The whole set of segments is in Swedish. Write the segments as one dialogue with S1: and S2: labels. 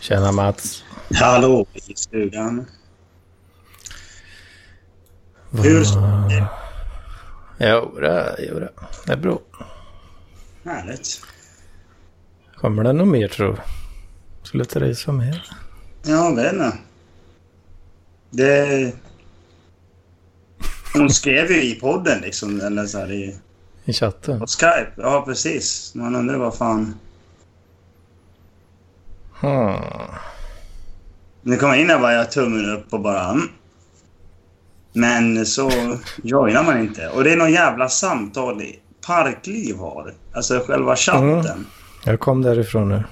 S1: Tjena Mats.
S2: Hallå i stugan. Hur står det?
S1: Jo, det, jo, det. det är bra.
S2: Härligt.
S1: Kommer det något mer tror du? Skulle Therese vara med?
S2: Ja, vet inte. Det... Hon skrev ju i podden liksom, eller så här i...
S1: I chatten?
S2: På Skype. Ja, precis. Man undrar vad fan...
S1: Hmm.
S2: Nu kom jag in där bara jag tummen upp och bara... mm. Men så joinar man inte. Och det är någon jävla samtal i Parkliv har. Alltså själva chatten.
S1: Jag kom därifrån nu.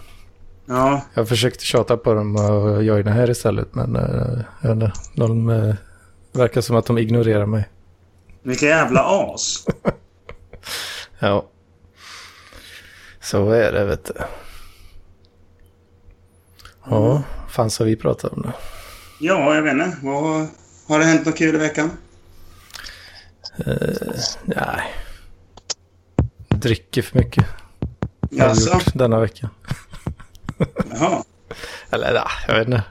S2: Ja,
S1: Jag försökte tjata på dem och joina här istället men eh, jag vet inte. de eh, verkar som att de ignorerar mig.
S2: vilka jävla as.
S1: Ja. Så är det vet du. Ja, fan så vi pratar om det.
S2: Ja, jag vet inte. Vad... Har det hänt något kul i veckan?
S1: Nej. Dricker för mycket. Har jag
S2: Jaså?
S1: gjort denna vecka.
S2: Jaha.
S1: Eller ja, jag vet inte.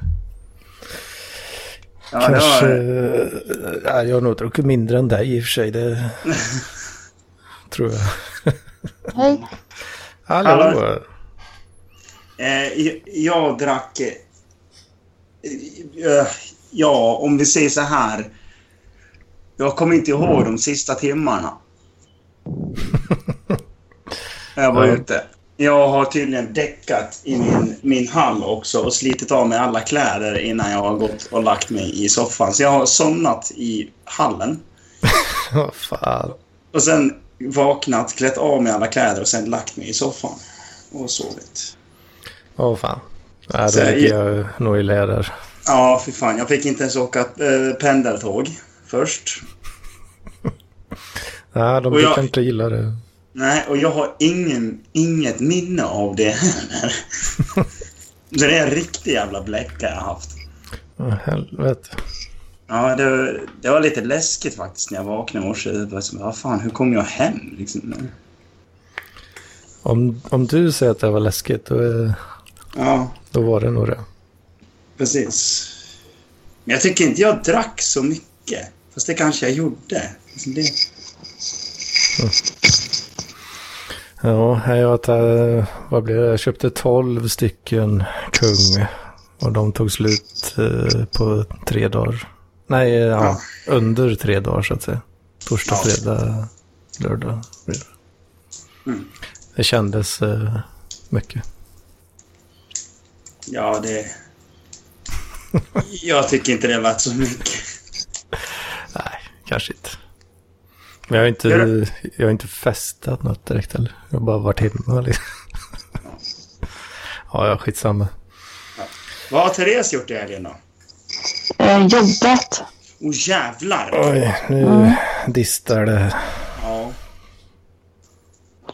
S2: Ja,
S1: Kanske...
S2: Det var...
S1: eh, nej, jag har nog druckit mindre än dig i och för sig. Det tror jag.
S3: Hej.
S1: Hallå.
S2: Hallå. eh, jag- jag drack... eh, Eh, ja, om vi säger så här. Jag kommer inte
S1: Mm.
S2: ihåg de sista timmarna. jag var
S1: Ja.
S2: ute. Jag har tydligen däckat i min, min hall också och slitit av mig alla kläder innan jag har gått och lagt mig i soffan. Så jag har somnat i hallen.
S1: Vad fan.
S2: Och sen vaknat, klätt av mig alla kläder och sen lagt mig i soffan. Och sovit.
S1: Åh fan. Nej,
S2: Så
S1: det
S2: jag-
S1: ligger jag nog i lä där.
S2: Ja, för fan. Jag fick inte ens åka eh, pendeltåg först.
S1: Nej, de
S2: Och jag-
S1: brukar inte gilla det.
S2: Nej, och jag har ingen, inget minne av det heller. Så det är en riktig jävla bläcka jag haft.
S1: Åh, Helvete.
S2: Ja, det, det var lite läskigt faktiskt när jag vaknade i morse. Jag bara så, Vad fan, hur kom jag hem? Liksom.
S1: Om, om du säger att det var läskigt, då, är-
S2: Ja,
S1: då var det nog det.
S2: Precis. Men jag tycker inte jag drack så mycket. Fast det kanske jag gjorde. Liksom Det,
S1: Ja, här jag tar, vad blev det? Jag köpte 12 stycken kung. Och de tog slut eh, på tre dagar. Nej, eh, ja, under tre dagar så att säga. Torsdag,
S2: Ja.
S1: fredag, lördag. fredag.
S2: Mm.
S1: Det kändes eh, mycket.
S2: ja, det... Jag tycker inte det lät så mycket.
S1: Nej, kanske inte. Men jag har inte,
S2: Gör
S1: jag har inte festat något direkt heller. Jag har bara varit hemma liksom. Ja, ja, skitsamma.
S2: Vad har Therese gjort i helgen då?
S3: Eh, jobbet.
S2: Åh jävlar!
S1: Oj, nu distar det.
S2: Ja.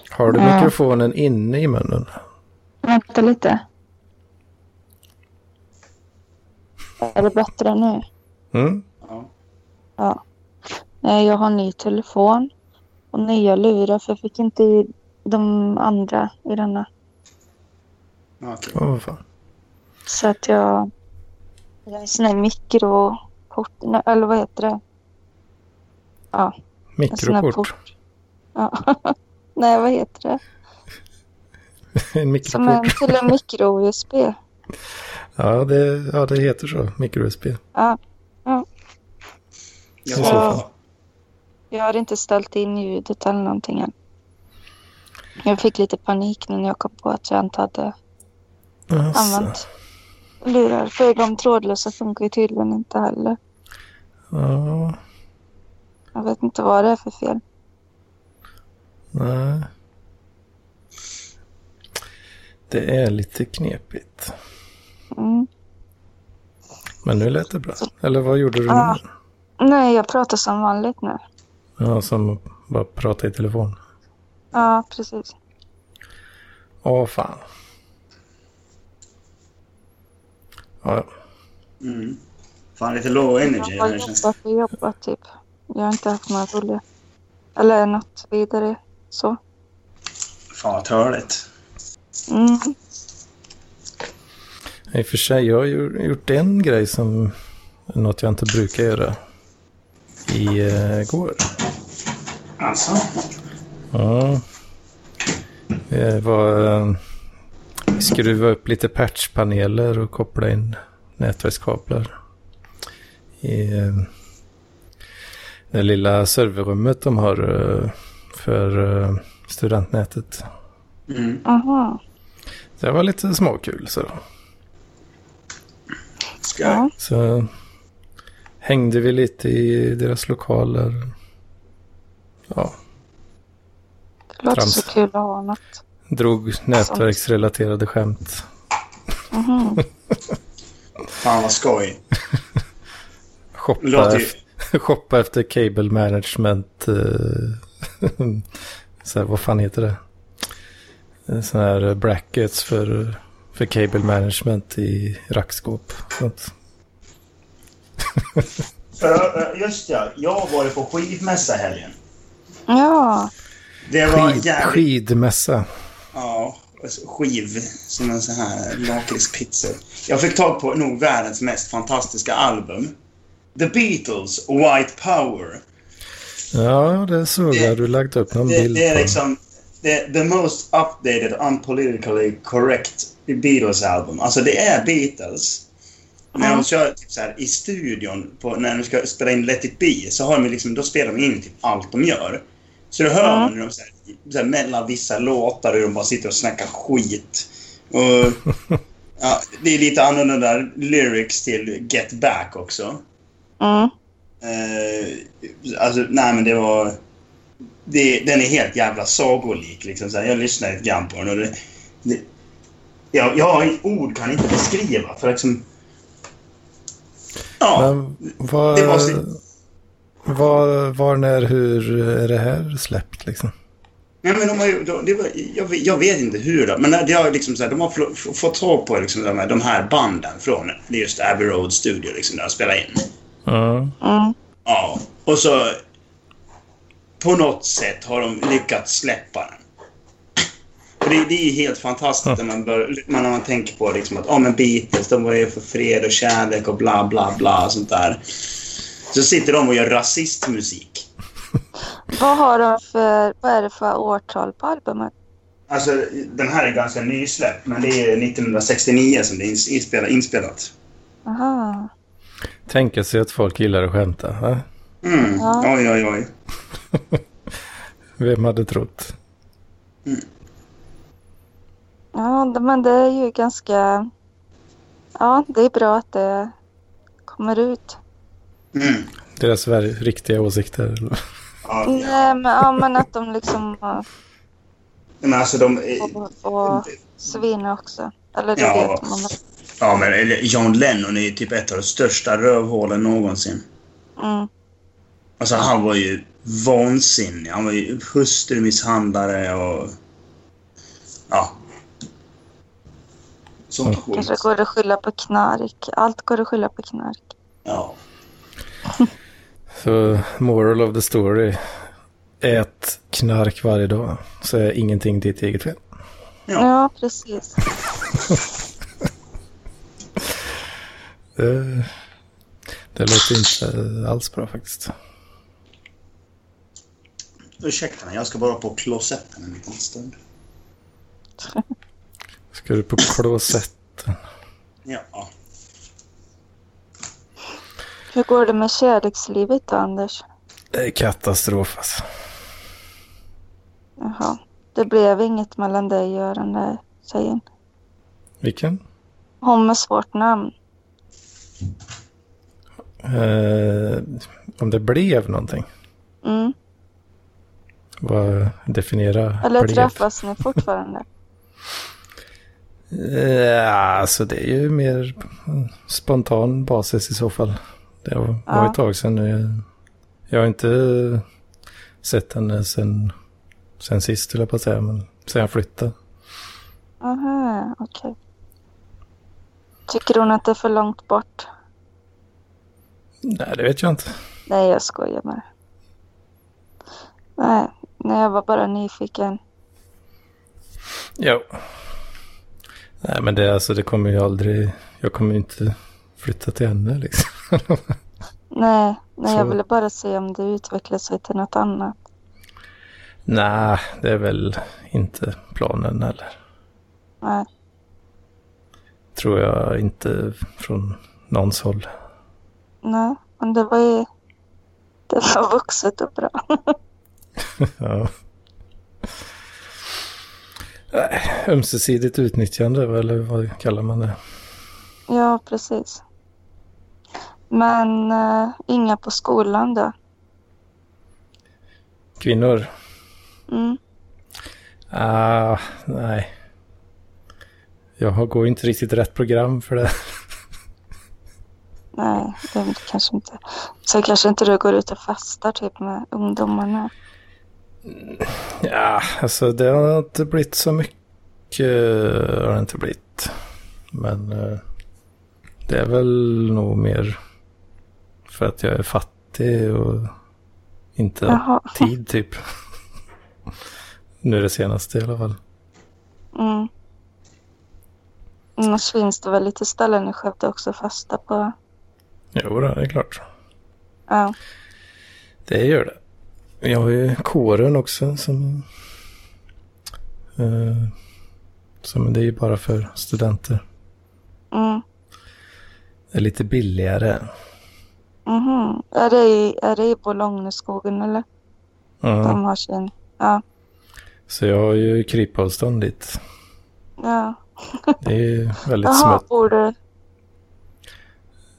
S1: Har du
S3: Ja.
S1: mikrofonen inne i munnen?
S3: Vänta lite. Är det bättre nu?
S1: Mm?
S2: ja.
S3: Ja. Nej, jag har ny telefon och nya lurar för jag fick inte i de andra i denna.
S2: Okej.
S1: Åh, vad fan.
S3: Så att jag... Jag har en sån här mikrokort, nej, eller vad heter det? En sån här
S1: Mikrokort.
S3: port. Ja. nej, vad heter det?
S1: En
S3: Som en
S1: mikrokort.
S3: till en mikro-USB.
S1: Ja det, ja, det heter så. Mikro-USB.
S3: Ja.
S2: Jag
S1: Så
S2: har...
S3: Jag har inte ställt in ljudet eller någonting än. Jag fick lite panik nu när jag kom på att jag inte hade
S1: Alltså,
S3: använt lurar. För de trådlösa funkar ju tydligen inte heller.
S1: ja,
S3: Jag vet inte vad det är för fel.
S1: nej. Det är lite knepigt.
S3: Mm.
S1: Men nu lät det bra. Eller vad gjorde du nu?
S3: Ja. Nej, jag pratar som vanligt nu.
S1: Ja, som bara prata i telefon.
S3: Ja, precis.
S1: Åh fan. Ja, ja.
S2: Mm. Fan, lite low energy.
S3: Jag har
S2: här känns det.
S3: jobbat och jobbat typ. Jag har inte haft några roliga. Eller något vidare så.
S2: Fan, vad törligt.
S3: Mm.
S1: I och för sig, jag har ju gjort en grej som något jag inte brukar göra. eh, Igår.
S2: Alltså?
S1: Ja. Det var... eh, Skruva upp lite patchpaneler och koppla in nätverkskablar. I eh, det lilla serverrummet de har eh, för eh, studentnätet.
S2: Mm.
S3: Aha.
S1: Så Det var lite småkul så.
S2: Ska jag?
S3: Ja.
S1: Så hängde vi lite i deras lokaler. Ja,
S3: Det låter
S1: Trams.
S3: så kul att ha något.
S1: drog nätverksrelaterade skämt.
S3: Mhm.
S2: Fan vad skoj.
S1: Shoppa,
S2: Låter ju...
S1: efter, shoppa efter cable management. eh, så här, vad fan heter det? Eh, Såna här brackets för, för cable management i rackskåp. Sånt.
S2: Ö, ö, eh, Just ja, jag har varit på skidmässa i helgen.
S3: Ja.
S2: Det var
S1: Skid,
S2: jävligt...
S1: skidmässa.
S2: Ja, alltså skiv. Som en sån här lakritspizza. Jag fick tag på nog världens mest fantastiska album. The Beatles och White Power.
S1: Ja, det såg jag. Du lagt upp någon
S2: Det,
S1: bild
S2: det är
S1: på.
S2: liksom the, the most updated unpolitically correct Beatles album. Alltså det är Beatles. När de kör typ så här, i studion, på, när de ska spela in Let it be, så har de liksom, då spelar de in typ allt de gör. Så du hör
S3: Ja.
S2: man hur de så här, så här, mellan vissa låtar hur de bara sitter och snackar skit. Och, ja, det är lite annorlunda lyrics till Get Back också.
S3: Mm.
S2: Eh, alltså, nej men det var... Det, den är helt jävla sagolik. Liksom. Så här, jag lyssnade lite grann på den och det... det jag, jag har ord kan inte beskriva för liksom... Ja.
S1: Men vad,
S2: det var sin-
S1: vad, var, när, hur är det här släppt liksom?
S2: Nej, men de har ju, de, det var, jag, vet- jag vet inte hur, då, men det har liksom så här, de har fl- f- fått tag på liksom de, här, de här banden från just Abbey Road Studio, liksom, där de spelar in.
S1: Mm.
S3: Mm.
S2: Ja, och så... På något sätt har de lyckats släppa den. För det, det är helt fantastiskt när man, bör, när man tänker på liksom att oh, men Beatles de var ju för fred och kärlek och bla, bla, bla. Och sånt där. Så sitter de och gör rasistmusik.
S3: Vad har de för, vad är det för årtal på albumet?
S2: Alltså, den här är ganska nysläppt, men det är 1969 som det är ins- inspela- inspelat.
S3: Aha.
S1: Tänka sig att folk gillar att skämta. Va?
S2: Mm.
S3: Ja.
S2: Oj, oj, oj.
S1: Vem hade trott?
S3: Ja, det- men det är ju ganska... Ja, det är bra att det kommer ut.
S2: Mm.
S1: Deras ver- riktiga åsikter.
S2: Ja, ja.
S3: Nej, men, ja, men att de liksom eh,
S2: Men alltså, de,
S3: får, får svina också. Eller det
S2: Ja.
S3: vet man väl.
S2: Ja, men eller John Lennon är ju typ ett av de största rövhålen någonsin.
S3: Mm.
S2: Alltså han var ju vansinnig. Han var ju hustrumisshandlare och... Ja. Sånt
S1: Mm.
S3: Kanske
S2: skit.
S3: går att skylla på knark. Allt går att skylla på knark.
S2: Ja.
S1: Så moral of the story. Ät knark varje dag. Så är ingenting ditt eget fel.
S2: Ja.
S3: Ja, precis.
S1: Det, det låter inte alls bra faktiskt.
S2: Ursäkta mig, jag ska bara på klosetten en liten stund.
S1: Ska du på klosetten?
S2: Ja.
S3: Hur går det med kärlekslivet då, Anders?
S1: Det är katastrof alltså.
S3: Jaha. Det blev inget mellan dig och den där tjejen.
S1: Vilken?
S3: Hon med svårt namn.
S1: Eh, om det blev någonting.
S3: Mm.
S1: Vad definiera
S3: Eller
S1: blev?
S3: träffas ni fortfarande?
S1: Ja, alltså det är ju mer spontan basis i så fall. Det var var
S3: Ja.
S1: ett tag sedan. nu. Jag har inte sett henne sen, sen sist, höll jag på att säga, men sen jag flyttade.
S3: Aha, okej. Tycker hon att det är för långt bort?
S1: Nej, det vet jag inte.
S3: Nej, jag skojar bara. Nej, nej jag var bara nyfiken.
S1: Jo, Nej, men det, alltså, det kommer ju aldrig... Jag kommer ju inte flytta till henne liksom.
S3: Nej, nej jag
S1: Så-
S3: ville bara se om det utvecklade sig till något annat.
S1: Nej, det är väl inte planen eller
S3: Nej,
S1: tror jag inte från någons håll.
S3: nej. men det var ju... Det var vuxet och bra.
S1: Ja. Nej, Äh, Ömsesidigt utnyttjande, eller vad kallar man det?
S3: Ja, precis. Men eh, inga på skolan då?
S1: Kvinnor?
S3: Mm.
S1: Ah, nej. Jag har- går inte riktigt rätt program för det.
S3: Nej, det är väl kanske inte. Så kanske inte du går ut och festar typ med ungdomarna.
S1: Ja, alltså det har inte blivit så mycket. Har det inte blivit. Men eh, det är väl nog mer för att jag är fattig och inte har
S3: Jaha.
S1: tid typ. nu det senaste i alla fall.
S3: Mm. Annars finns det väl lite ställen i Skövde också att festa på.
S1: Jo, då, det är klart.
S3: Ja,
S1: Det gör det. Jag har ju kåren också som... Eh, som det är ju bara för studenter.
S3: mm.
S1: Det är lite billigare.
S3: Mhm. Är, det i, är det i Bologneskogen eller?
S1: Mm.
S3: De har sin. Ja,
S1: Så jag har ju krypavstånd dit.
S3: ja.
S1: Det är ju väldigt
S3: Jaha,
S1: smått.
S3: bor du?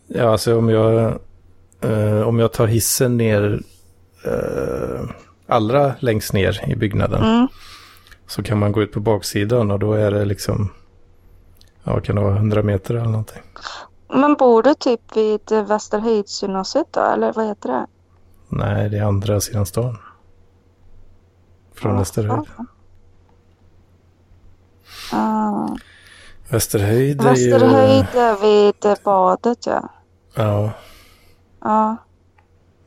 S1: Ja, alltså om jag, eh, om jag tar hissen ner eh, allra längst ner i byggnaden
S3: Mm.
S1: så kan man gå ut på baksidan och då är det liksom, ja kan det vara 100 meter eller någonting.
S3: Men bor du typ vid eh, Västerhöjdsgymnasiet då? Eller vad heter det?
S1: Nej, det är andra sidan stan. Från Västerhöjd.
S3: Ah.
S1: Västerhöjd är ju...
S3: Västerhöjd är vid eh, badet ja.
S1: Ja,
S3: Ja,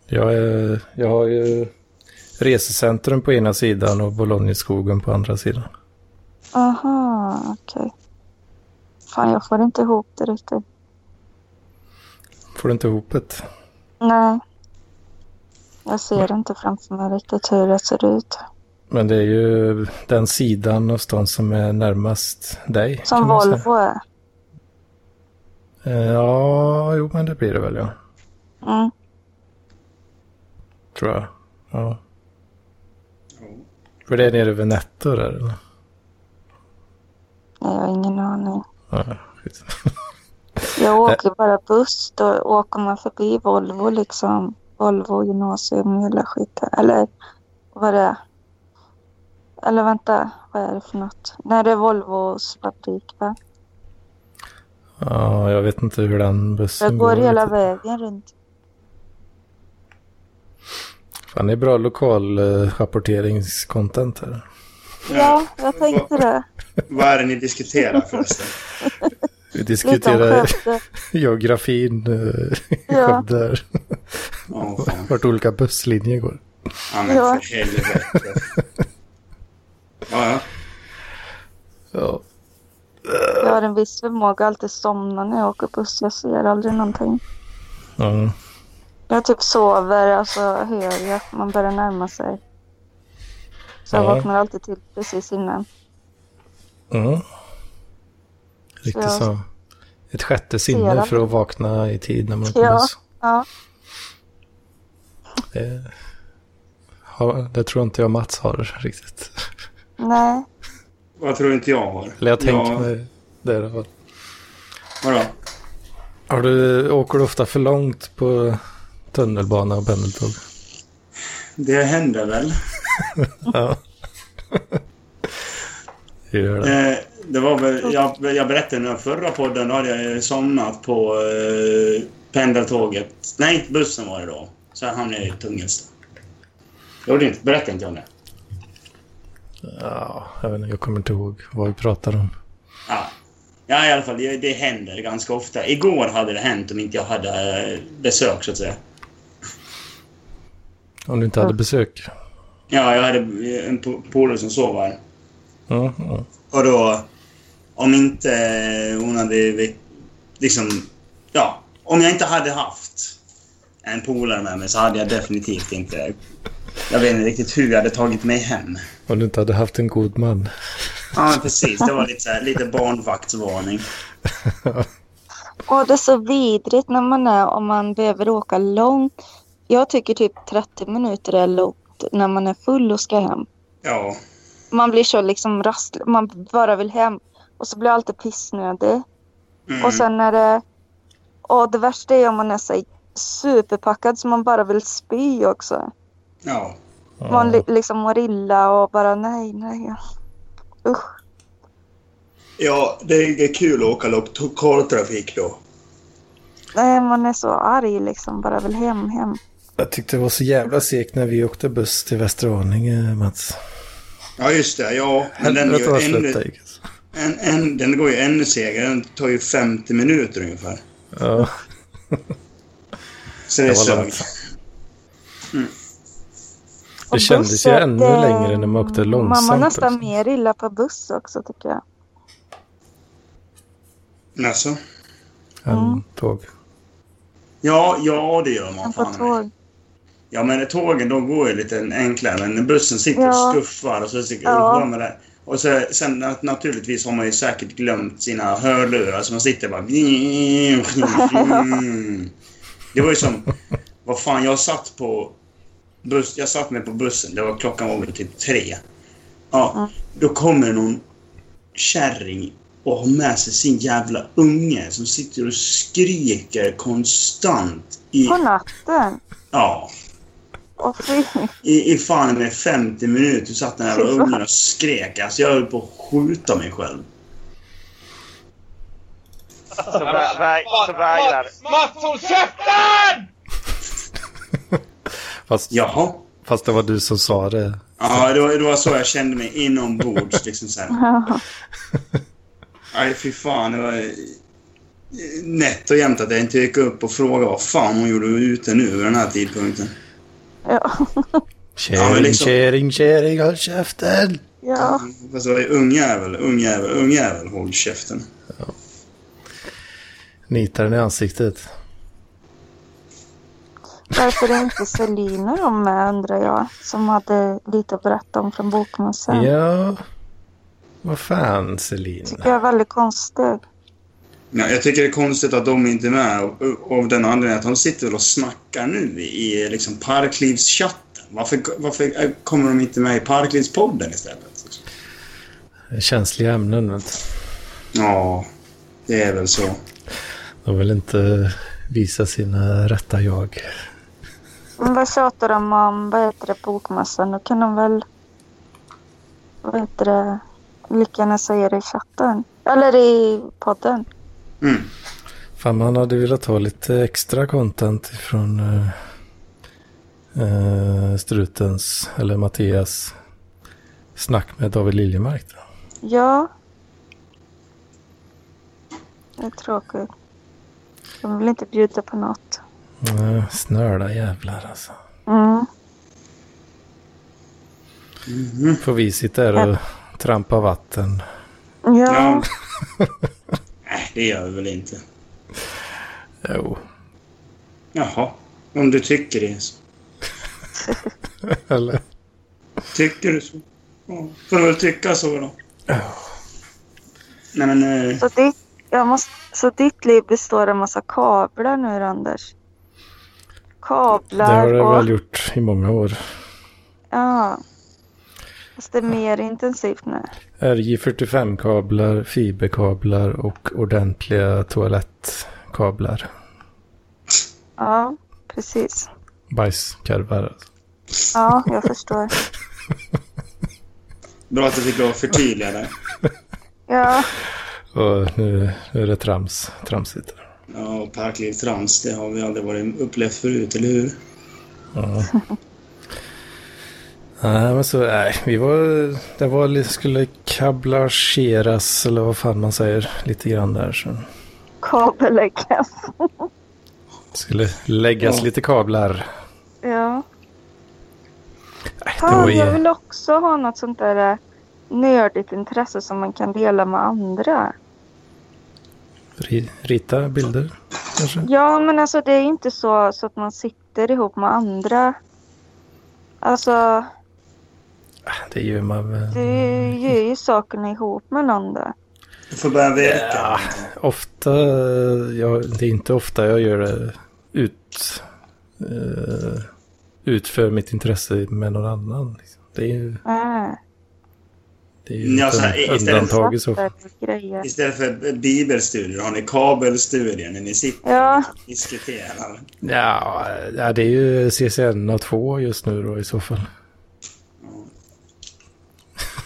S1: jag, är, jag har ju resecentrum på ena sidan och Bologneskogen på andra sidan.
S3: aha, okej. Fan, jag får inte ihop det riktigt.
S1: Får du inte ihop det?
S3: Nej. Jag ser inte framför mig riktigt hur det ser ut.
S1: Men det är ju den sidan av stan som är närmast dig.
S3: Som
S1: kan man säga.
S3: Volvo är.
S1: Eh, Ja, jo men det blir det väl ja.
S3: Mm.
S1: Tror jag. Ja. För det är nere vid Netto där eller?
S3: Nej, jag har ingen aning.
S1: Ja, skit.
S3: Jag åker bara buss. Då åker man förbi Volvo liksom. Volvo gymnasium hela skiten. Eller vad det är. Eller vänta, vad är det för något? Nej, det är Volvos fabrik va?
S1: ja, jag vet inte hur den bussen
S3: Jag går hela
S1: riktigt.
S3: vägen runt.
S1: Fan, det är bra lokal eh, rapporteringscontent här.
S3: Ja, jag tänkte det.
S2: Vad är det ni diskuterar förresten?
S1: Vi
S3: Lite om
S1: diskuterar
S3: Skövde.
S1: geografin eh, i
S3: Ja.
S1: Skövde här.
S2: Åh, fan.
S1: Vart olika busslinjer går.
S2: Ja, men
S3: Ja.
S2: för helvete. Ja, ja.
S1: Ja.
S3: Jag har en viss förmåga att alltid somna när jag åker buss. Jag ser aldrig någonting.
S1: Mm.
S3: Jag typ sover och så hör jag att man börjar närma sig. Så jag
S1: Ja.
S3: vaknar alltid till precis innan.
S1: Mm. Riktigt
S3: Ja.
S1: så. Ett sjätte
S3: Ser
S1: sinne
S3: han.
S1: för att vakna i tid när man är på
S3: Ja.
S1: buss.
S3: Ja,
S1: Det, har- det tror inte jag Mats har riktigt.
S3: nej.
S2: Vad tror du inte jag har?
S1: Eller jag tänker
S2: ja,
S1: mig det. i alla fall.
S2: Vadå?
S1: Har du, åker du ofta för långt på tunnelbana och pendeltåg?
S2: Det händer väl.
S1: Ja. Gör det.
S2: Eh, det var väl, jag, jag berättade i den förra podden, då hade jag ju somnat på eh, pendeltåget. Nej, bussen var det då. Så jag hamnade i Tungelsta. Gjorde inte, berättade inte om det?
S1: Ja, jag, vet inte, jag kommer inte ihåg vad vi pratade om.
S2: Ja. ja, i alla fall, det, det händer ganska ofta. Igår hade det hänt om inte jag hade eh, besök, så att säga.
S1: Om du inte hade besök.
S2: Ja, jag hade en po- polare som sov här.
S1: Mm, mm.
S2: Och då... ja, Om inte hon hade vi- liksom... Ja, om jag inte hade haft en polare med mig så hade jag definitivt inte... Jag vet inte riktigt hur jag hade tagit mig hem.
S1: Om du inte hade haft en god man.
S2: Ja, men precis. Det var lite, så här, lite barnvaktsvarning.
S3: Och det är så vidrigt när man är om man behöver åka långt. Jag tycker typ 30 minuter är långt när man är full och ska hem.
S2: Ja.
S3: Man blir så liksom rastlös. Man bara vill hem. Och så blir jag alltid pissnödig.
S2: Mm.
S3: Och sen är det... Och det värsta är om man är så här superpackad så man bara vill spy också.
S2: Ja.
S3: Man li- liksom mår illa och bara nej, nej. Usch.
S2: ja, det är inget kul att åka lokaltrafik då.
S3: Nej, man är så arg liksom. Bara vill hem, hem.
S1: Jag tyckte det var så jävla segt när vi åkte buss till Västeråninge, Mats.
S2: Ja, just det. Ja, men den,
S1: Helvete
S2: gör
S1: vad
S2: ännu,
S1: slött det gick. alltså.
S2: en, en, den går ju ännu segare. Den tar ju 50 minuter ungefär.
S1: Ja,
S2: Så det är
S1: det var långt.
S2: sökt.
S3: Och
S1: Det kändes ju
S3: bussen,
S1: ännu
S3: det-
S1: längre när man åkte långsamt.
S3: Man mår eh, nästan
S1: också.
S3: mer illa på buss också tycker jag.
S2: Alltså.
S1: än tåg.
S2: Ja, ja, det gör
S3: Man
S2: man
S3: får
S2: fan med.
S3: tåg.
S2: Ja, men tågen de går ju lite enklare. Men när bussen sitter
S3: Ja.
S2: och skuffar och så sitter
S3: Ja.
S2: och håller med det. Och så, sen att naturligtvis har man ju säkert glömt sina hörlurar så man sitter bara... Det var ju som... Vad fan, jag satt på... Buss, jag satt med på bussen. Det var klockan var väl typ tre. Ja, då kommer någon kärring och har med sig sin jävla unge som sitter och skriker konstant i...
S3: På natten.
S2: Ja.
S3: Och fy.
S2: I, i fan med 50 minuter satt den här
S3: Fy fan.
S2: ungen och skrek. Alltså jag höll på att skjuta mig själv.
S4: Så, vä- vä- så vägrar
S5: Mats håll käften!
S1: Fast,
S2: Jaha.
S1: fast det var du som sa det.
S2: Ja, det var, det var så jag kände mig inombords. Liksom så här. Nej, fy fan. Det var eh, nätt och jämnt att jag inte gick upp och frågade vad fan hon gjorde ute nu vid den här tidpunkten.
S3: Ja.
S1: Kärring,
S2: liksom-
S1: kärring, kärring, håll käften!
S3: ja.
S2: Fast det var ju ungjävel, ungjävel, ungjävel. Håll käften.
S1: Nitar den i ansiktet.
S3: Varför är inte Selina då med undrar jag. Som hade lite att berätta om från bokmässan.
S1: Ja. Vad fan, Selina.
S3: Tycker jag är väldigt konstigt.
S2: Ja, jag tycker det är konstigt att de inte är med av- av den anledningen att de sitter väl och snackar nu i liksom Parklivschatten. Varför, varför eh, kommer de inte med i Parklivspodden istället?
S1: Känsliga ämnen, vet du.
S2: Ja, det är väl så.
S1: De vill inte visa sina rätta jag.
S3: Men vad tjatar de om, vad heter det, bokmässan? Då kan de väl, vad heter det, lika gärna säga det i chatten. Eller i podden.
S2: Mm.
S1: Fan, man hade velat ha lite extra content från eh, eh, Strutens, eller Mattias, snack med David Liljemark. Då.
S3: Ja. Det är tråkigt. De vill inte bjuda på något.
S1: Nej, Snörda Eh, jävlar alltså.
S3: Mm.
S1: Får vi sitta här och trampa vatten.
S3: Ja.
S2: Ja. Nej, det gör vi väl inte.
S1: Jo.
S2: Jaha, om du tycker det. så-
S1: Eller?
S2: Tycker du så? Ja, får du väl tycka så då. Nej, men... eh,
S3: Så, ditt, jag måste, så ditt liv består av massa kablar nu då, Anders?
S1: Det har
S3: Kablar
S1: det
S3: och...
S1: väl gjort i många år.
S3: Ja. Fast det är mer intensivt nu.
S1: RJ45-kablar, fiberkablar och ordentliga toalettkablar.
S3: Ja, precis.
S1: Bajskorvar. alltså.
S3: Ja, jag förstår.
S2: Bra att du fick lov att förtydliga det.
S3: Ja,
S1: Och nu, nu är det trams. Tramsigt.
S2: Ja, och parklivstrans, det har vi aldrig varit upplevt förut, eller hur?
S1: Nej, men så, nej, vi var, det var, li- skulle kablageras eller vad fan man säger lite grann där. Så
S3: kabellägga.
S1: skulle läggas
S2: Ja.
S1: lite kablar.
S3: Ja.
S1: Nej, det var
S3: Fan, jag
S1: ju,
S3: vill också ha något sånt där eh, nördigt intresse som man kan dela med andra.
S1: Ri- Rita bilder kanske?
S3: Ja, men alltså det är inte så, så att man sitter ihop med andra. Alltså,
S1: Ah, Det gör man väl
S3: du gör ju sakerna ihop med någon då.
S2: Du får börja veka.
S1: Ja. ofta. Ja, det är inte ofta jag gör det ut, eh, utför mitt intresse med någon annan. Liksom. Det är ju,
S3: Äh,
S1: det är ju
S2: Ja,
S1: ett
S2: så här,
S1: un-
S2: istället för-
S1: undantag i så fall.
S3: och grejer.
S2: Istället för bibelstudier har ni kabelstudier när ni sitter
S3: Ja,
S2: och diskuterar.
S1: Ja, ja, det är ju CCN och 2 just nu då i så fall.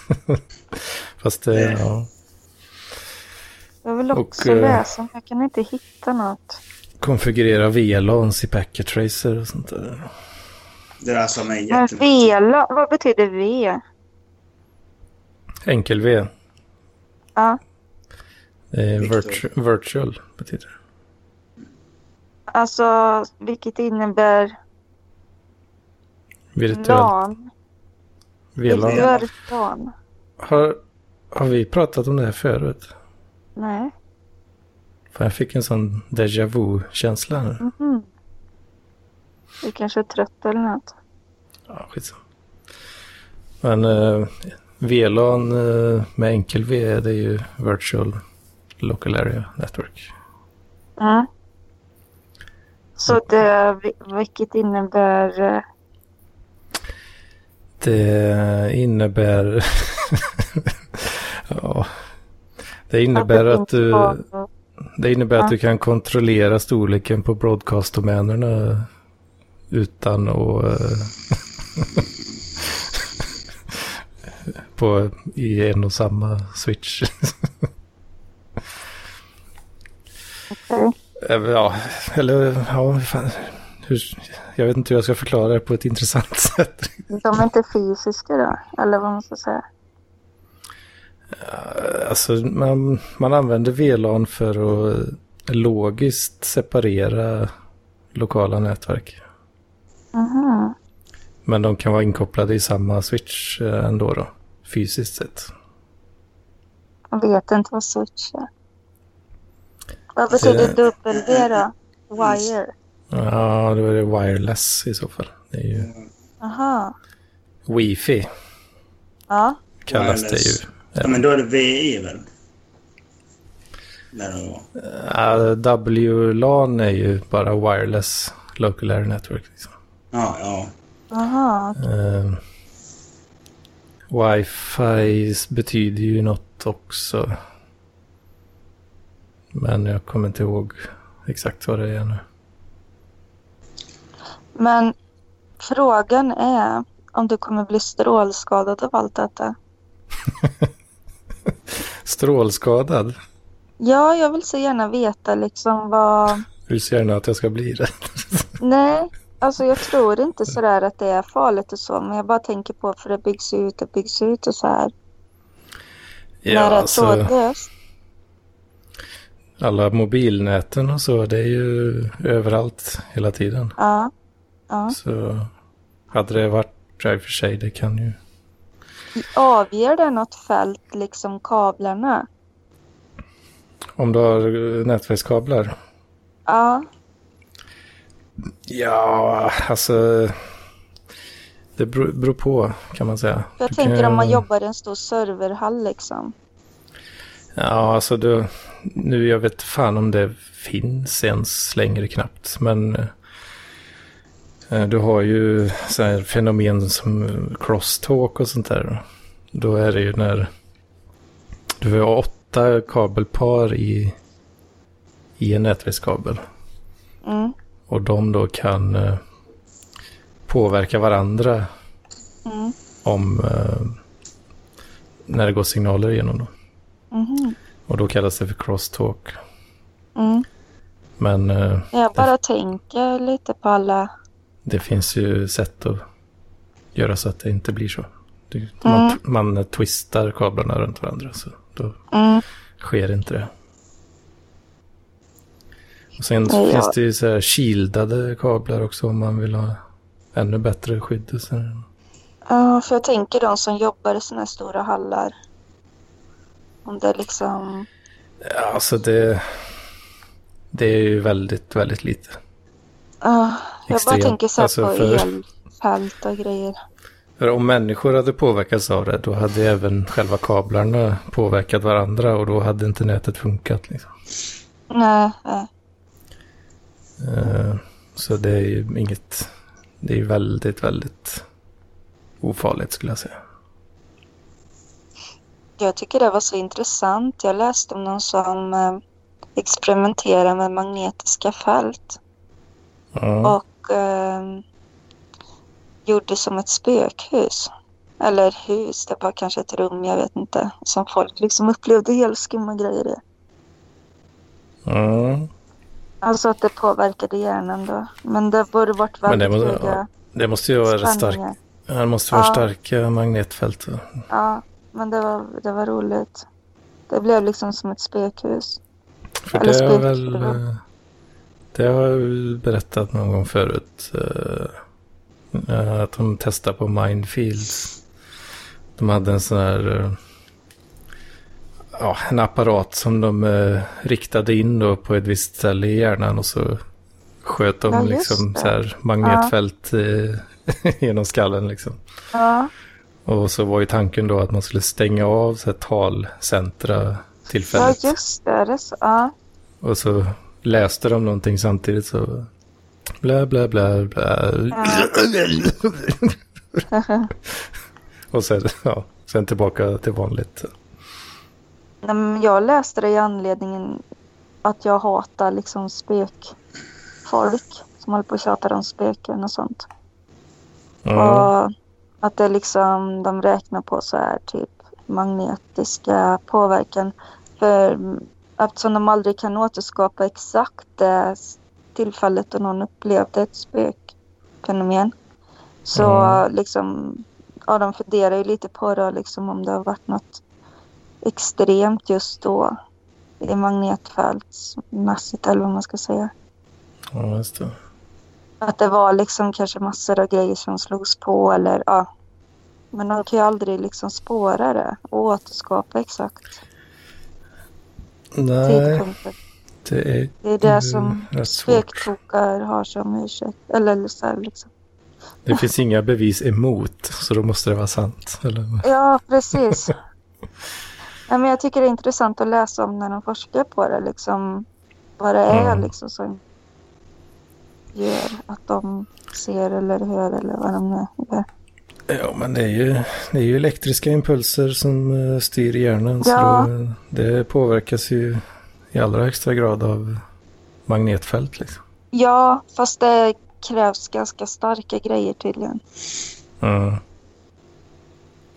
S1: Fast det,
S2: Nej.
S1: ja.
S3: jag vill
S1: Och,
S3: också
S1: eh,
S3: läsa, men jag kan inte hitta något.
S1: konfigurera VLANs i Packet Tracer och sånt där.
S2: Det där som är alltså
S3: Men
S2: jättemycket.
S3: vela, vad betyder V?
S1: Enkel-V.
S3: Ja,
S1: Det är
S2: Victor.
S1: virtu- virtual betyder det.
S3: alltså, vilket innebär
S1: Virtuell.
S3: LAN.
S1: VLAN.
S2: Virtuell.
S3: Virtuell LAN.
S1: Har, har vi pratat om det här förut?
S3: Nej.
S1: För jag fick en sån déjà vu-känsla nu.
S3: Mhm. Du kanske är trött eller något.
S1: Ja, skitsamma. Men eh, VLAN eh, med enkel-V det är ju virtual local area network.
S3: Mm.
S1: Mm.
S3: Så det, vil- vilket innebär... eh,
S1: Det innebär... ja. Det innebär att
S3: finns
S1: du...
S3: barn-
S1: Det innebär
S3: Ja.
S1: att du kan kontrollera storleken på broadcast-domänerna utan att... eh, på, I en och samma switch.
S3: Okej.
S1: Eh, ja, eller ja, vad fan. Hur, jag vet inte hur jag ska förklara det på ett intressant sätt.
S3: De är inte fysiska då, eller vad man ska säga.
S1: Alltså, man, man använder VLAN för att eh, logiskt separera lokala nätverk.
S3: Mhm.
S1: Men de kan vara inkopplade i samma switch eh, ändå då, fysiskt sett.
S3: Jag vet inte vad switch är. Vad
S1: Eh,
S3: betyder W då? Wire?
S1: Ja, då är det wireless i så fall. Det är ju
S3: Aha.
S1: wifi
S3: Ja.
S1: kallas
S2: Wireless.
S1: det ju.
S2: Ja, men då är det VE väl? Där det var.
S1: Ja, WLAN är ju bara wireless local area network. Liksom.
S2: Ja, ja.
S3: Aha.
S1: Eh, wifi betyder ju något också. Men jag kommer inte ihåg exakt vad det är nu.
S3: Men frågan är om du kommer bli strålskadad av allt detta.
S1: Strålskadad.
S3: Ja, jag vill så gärna veta liksom vad...
S1: Hur ser gärna att jag ska bli det?
S3: Nej, alltså jag tror inte sådär att det är farligt och så, men jag bara tänker på för det byggs ju ut och byggs ut och så här. när det är
S1: alltså-
S3: trådlöst.
S1: Alla mobilnäten och så, det är ju överallt hela tiden.
S3: Ja. ja.
S1: Så hade det varit, i och för sig, det kan ju...
S3: Avger det något fält, liksom kablarna?
S1: Om du har eh, nätverkskablar?
S3: Ja,
S1: Ja, alltså... Det beror beror på, kan man säga.
S3: för jag
S1: Du
S3: tänker
S1: kan-
S3: om man jobbar i en stor serverhall liksom.
S1: Ja, alltså du... Nu, jag vet fan om det finns ens längre knappt, men... eh, Du har ju så här fenomen som eh, crosstalk och sånt där. Då är det ju när du har åtta kabelpar i, i en nätverkskabel.
S3: Mm.
S1: Och de då kan eh, påverka varandra
S3: Mm.
S1: om eh, när det går signaler igenom. Då.
S3: Mhm.
S1: Och då kallas det för crosstalk.
S3: Mm.
S1: Men eh,
S3: Jag bara tänker lite på alla.
S1: det finns ju sätt att göra så att det inte blir så. Det, man,
S3: Mm.
S1: t- man twistar kablarna runt varandra så då
S3: Mm.
S1: sker inte det. Och sen
S3: Ja.
S1: finns det ju så här shieldade kablar också om man vill ha ännu bättre skydd. och Så här.
S3: Ja, för jag tänker de som jobbar i sådana här stora hallar. Om det liksom...
S1: Ja, alltså det... Det är ju väldigt, väldigt lite.
S3: Ja, jag bara
S1: Extremt.
S3: tänker så här
S1: Alltså,
S3: på
S1: för-
S3: elfält och grejer.
S1: För om människor hade påverkats av det, då hade även själva kablarna påverkat varandra och då hade inte nätet funkat. Liksom.
S3: Nej, nej.
S1: Eh, Så det är ju inget... Det är ju väldigt, väldigt ofarligt skulle jag säga.
S3: Jag tycker det var så intressant. Jag läste om någon som eh, experimenterar med magnetiska fält
S1: Ja.
S3: och eh, gjorde som ett spökhus. Eller hus, det var kanske ett rum, jag vet inte. Som folk liksom upplevde helt skumma grejer i.
S1: Ja.
S3: Alltså att det påverkade hjärnan då. Men det borde varit
S1: Men det
S3: väldigt
S1: måste-
S3: höga
S1: Det måste ju vara starkt.
S3: spänningar.
S1: Det måste vara
S3: Ja.
S1: starka magnetfält.
S3: Ja, men det var, det var roligt. Det blev liksom som ett spökhus.
S1: För
S3: Eller
S1: det har jag väl...
S3: spirituella.
S1: eh, Det har jag väl berättat någon gång förut. eh, eh, Att de testar på Mindfields. De hade en sån här... eh, Ja, en apparat som de eh, riktade in då på ett visst ställe i hjärnan och så sköt de
S3: Ja, just
S1: liksom
S3: det.
S1: så här magnetfält eh, genom skallen liksom.
S3: Ja,
S1: Och så var ju tanken då att man skulle stänga av så här talcentra
S3: ja
S1: tillfälligt.
S3: just det. det är så, ja.
S1: Och så läste de någonting samtidigt så... Blä, blä, blä, blä. och sen, ja, sen tillbaka till vanligt.
S3: Nej, men jag läste det i anledningen att jag hatar liksom spökfolk som håller på och tjatar om spöken och sånt.
S1: Ja,
S3: Och att det liksom, de räknar på så här typ magnetiska påverkan. För eftersom de aldrig kan återskapa exakt det s- tillfället då någon upplevde ett spökfenomen. Så
S1: Mm.
S3: liksom, ja de funderar ju lite på det liksom om det har varit något extremt just då. I magnetfältsmässigt eller vad man ska säga.
S1: ja just det.
S3: Att det var liksom kanske massor av grejer som slogs på eller ja. Men de kan ju aldrig liksom spåra det och återskapa exakt
S1: Nej,
S3: tidpunkter.
S1: det är
S3: Det är det som
S1: Mm, rätt svårt.
S3: spöktokar har som ursäkt. Eller så här liksom.
S1: Det finns inga bevis emot, så då måste det vara sant. Eller?
S3: Ja, precis. Nej, men jag tycker det är intressant att läsa om när de forskar på det. Liksom, vad det är
S1: Mm.
S3: liksom, som gör att de ser eller hör eller vad de nu gör.
S1: Ja, men det är, ju, det är ju elektriska impulser som eh, styr hjärnan. Så
S3: Ja.
S1: då, eh, det påverkas ju i allra högsta grad av magnetfält. Liksom.
S3: Ja, fast det krävs ganska starka grejer tydligen.
S1: Mm.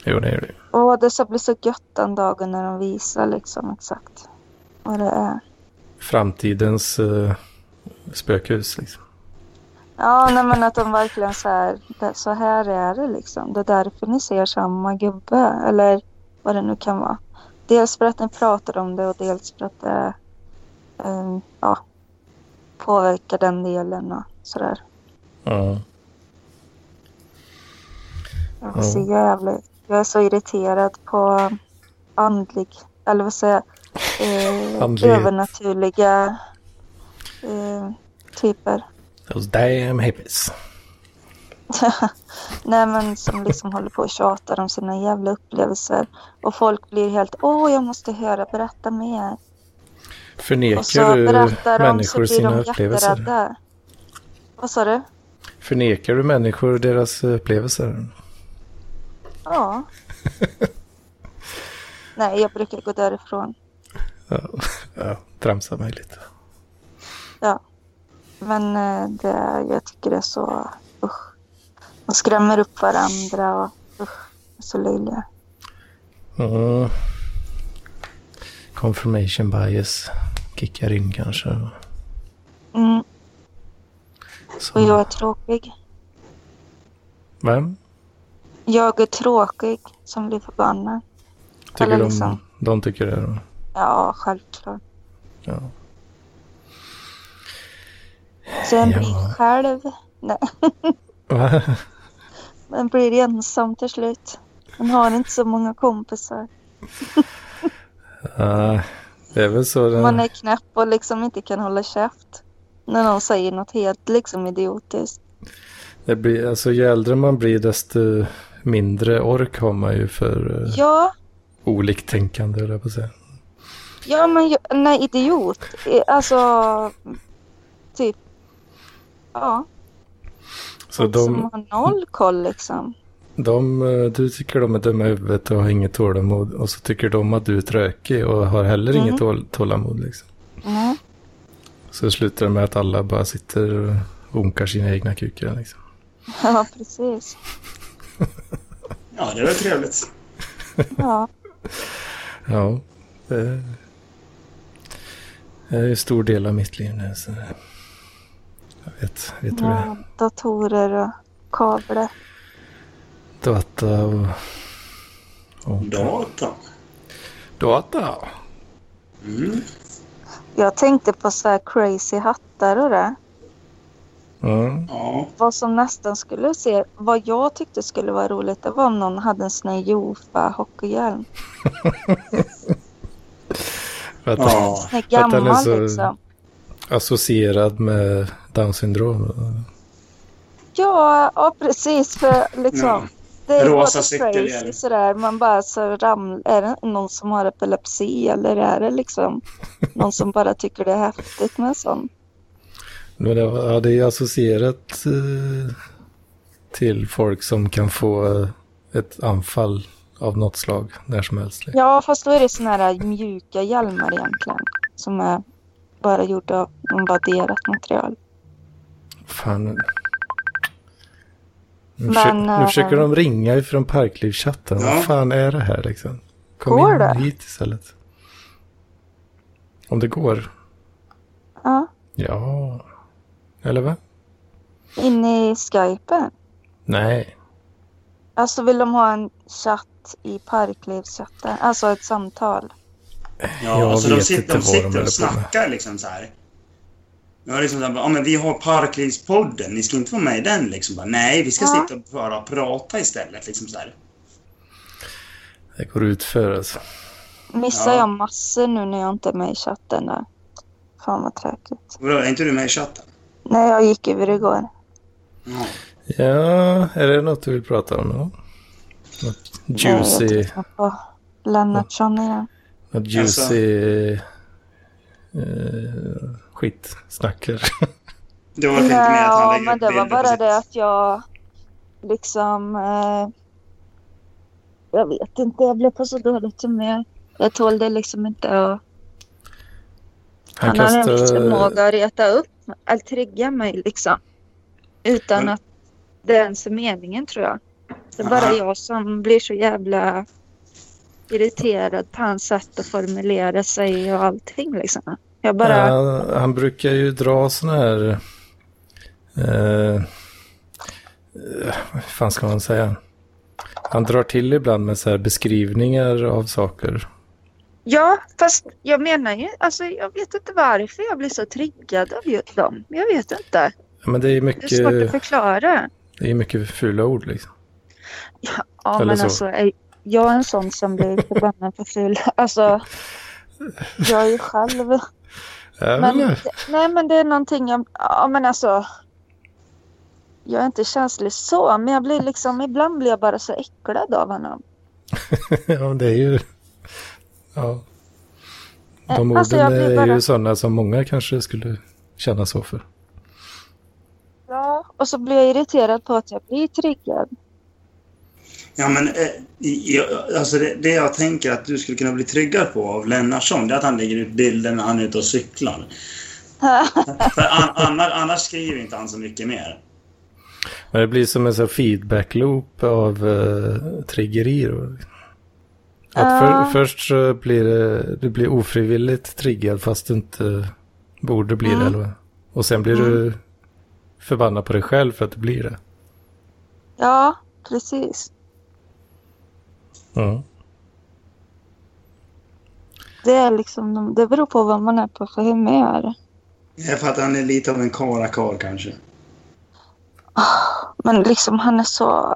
S1: Jo, det är det ju.
S3: Åh, det ska bli så gött den dagen när de visar liksom exakt vad det är.
S1: Framtidens eh, spökhus. Liksom.
S3: Ja, nej, men att de verkligen så här, det, så här är det liksom. Det är därför ni ser samma gubbe eller vad det nu kan vara. Dels för att ni pratar om det och dels för att det ehm, ja, påverkar den delen och sådär.
S1: Ja.
S3: Jag
S1: Ja.
S3: är så jävla... Jag är så irriterad på andlig... Eller vad säger jag? Eh,
S1: Andlighet.
S3: övernaturliga eh, typer.
S1: Those damn hippies.
S3: Nej men som liksom håller på och tjatar om sina jävla upplevelser. Och folk blir helt åh jag måste höra, berätta mer. Och så
S1: Förnekar du
S3: berättar de så
S1: människor
S3: blir
S1: sina
S3: de
S1: upplevelser?
S3: jätterädda. Vad sa du?
S1: Förnekar du människor deras upplevelser?
S3: Ja. Nej jag brukar gå därifrån.
S1: Ja, ja tramsa mig lite.
S3: Men eh, det, jag tycker det är så usch. De skrämmer upp varandra och usch, så löjliga.
S1: Mm. Confirmation bias kickar in kanske.
S3: Mm, och
S1: Som...
S3: jag är tråkig.
S1: Vem?
S3: Jag är tråkig som blir förbannad.
S1: Tycker
S3: Eller
S1: de,
S3: liksom-
S1: de tycker det? då?
S3: Ja, självklart.
S1: Ja.
S3: Sen
S1: Ja.
S3: blir jag själv. Nej,
S1: Va?
S3: man blir ensam till slut. Man har inte så många kompisar.
S1: Ja, Det är väl så den...
S3: Man är knäpp och liksom inte kan hålla käft. När någon säger något helt liksom idiotiskt.
S1: Det blir, alltså ju äldre man blir desto mindre ork har man ju för ja.
S3: Ja,
S1: oliktänkande, höll jag på att säga.
S3: ja men ju- nej idiot. Eh, Alltså, typ. Ja,
S1: Så
S3: som
S1: de,
S3: har noll koll liksom.
S1: de, eh, du tycker de är dumma i huvudet och har inget tålamod och så tycker de att du är trökig och har heller
S3: Mm.
S1: inget tål, tålamod. Liksom.
S3: Nej.
S1: Så det slutar med att alla bara sitter och onkar sina egna kukar. Liksom.
S3: Ja, precis.
S2: Ja, det var trevligt.
S3: Ja,
S1: Ja, det det är en stor del av mitt liv nu. Så jag vet, vet hur det är.
S3: ja datorer och kablar.
S1: Data och... och
S2: Data.
S1: Data?
S2: Mm.
S3: Jag tänkte på så här crazy hattar och det.
S1: Mm.
S2: Ja.
S3: Vad som nästan skulle se, vad jag tyckte skulle vara roligt, det var om någon hade en sån här Jofa hockeyhjälm.
S1: För att
S2: ja.
S3: Den är
S1: För att den är
S3: gammal
S1: så-
S3: liksom.
S1: associerad med Down syndrom.
S3: Ja, ja precis. För liksom,
S2: Ja.
S3: Det är
S2: Mm. Rosa
S3: både
S2: cykelhjälm.
S3: crazy sådär. Man bara så ramlar. Är det någon som har epilepsi eller är det liksom någon som bara tycker det är häftigt med en sån?
S1: Men det, var- ja, det är associerat eh, till folk som kan få eh, ett anfall av något slag när som helst. liksom.
S3: Ja, fast då är det såna här mjuka hjälmar egentligen. Som är bara gjorda av invaderat material.
S1: Fan. Nu,
S3: Men,
S1: försöker, nu
S3: eh,
S1: försöker de ringa ifrån Parklivschatten.
S2: Ja.
S1: Vad fan är det här liksom? Kom
S3: Går
S1: in
S3: det?
S1: hit istället. Om det går.
S3: Ja,
S1: Ja. Eller va?
S3: inne i skypen.
S1: Nej.
S3: Alltså vill de ha en chatt i parklivschatten. Alltså ett samtal.
S2: Ja,
S1: Jag
S2: alltså de
S1: vet
S2: sitter,
S1: inte
S2: de
S1: vad de
S2: sitter
S1: håller på
S2: och snackar liksom så här. Ja, liksom så här, bara, ja, men vi har Parklivspodden, ni ska inte vara med i den liksom. Bara, Nej, vi ska
S3: Ja.
S2: sitta och bara prata istället liksom så här.
S1: Det går ut för alltså.
S3: Missar
S2: Ja.
S3: jag massor nu när jag inte är med i chatten där. Fan vad tråkigt.
S2: Vadå, är inte du med i chatten?
S3: Nej, jag gick över igår.
S2: Ja.
S1: Ja, är det något du vill prata om då? Något
S3: Nej,
S1: juicy,
S3: jag tittar på Lennartsson igen.
S1: något juicy
S3: Alltså-
S1: eh, skitsnack här.
S2: Det var inte med att han
S3: ja,
S2: lägger
S3: men
S2: upp
S3: det var
S2: bilder på
S3: bara
S2: sitt-
S3: det att jag liksom... Eh, jag vet inte, jag blev på så dåligt humör. Jag tålde liksom inte att... Han, hade en viss förmåga att reta upp, att trigga mig liksom. Utan
S2: Men-
S3: att det ens är meningen tror jag. Det är bara
S2: Aha.
S3: jag som blir så jävla irriterad på hans sätt att formulera sig och allting liksom. Jag bara...
S1: Ja, han brukar ju dra sådana här... Eh, eh, vad fan ska man säga? Han drar till ibland med så här beskrivningar av saker.
S3: Ja, fast jag menar ju, alltså jag vet inte varför jag blir så triggad av ju- dem. Jag vet inte.
S1: Ja, Men det är
S3: Det är svårt att
S1: mycket,
S3: förklara.
S1: det är mycket fula ord liksom.
S3: Ja,
S1: Eller
S3: men
S1: så.
S3: alltså är jag är en sån som blir förbannad på ful. Alltså, jag är ju själv.
S1: Även,
S3: Men, nej, men det är någonting jag, ja men alltså. Jag är inte känslig så, men jag blir liksom, ibland blir jag bara så äcklad av honom.
S1: ja, men det är ju... Ja. De
S3: Eh,
S1: orden
S3: alltså, jag blir
S1: är
S3: bara-
S1: ju sådana som många kanske skulle känna så för.
S3: Ja, och så blir jag irriterad på att jag blir triggad.
S2: Ja, men eh, i- i- alltså det, det jag tänker att du skulle kunna bli tryggad på av Lennartsson, det är att han lägger ut bilder när han är ute och cyklar. För an, annars, annars skriver inte han så mycket mer.
S1: Men det blir som en sån här feedback-loop av uh, triggerier. Att för,
S3: Ja.
S1: Först så blir det, du blir ofrivilligt triggad fast du inte borde bli det.
S3: Mm.
S1: Eller? vad? Och sen blir du förbannad på dig själv för att du blir det.
S3: Ja, precis.
S1: Mm.
S3: Det, är liksom, de- det beror på vad man är på för humör.
S2: Det är för att han är lite av en karakar kanske.
S3: Men liksom han är så...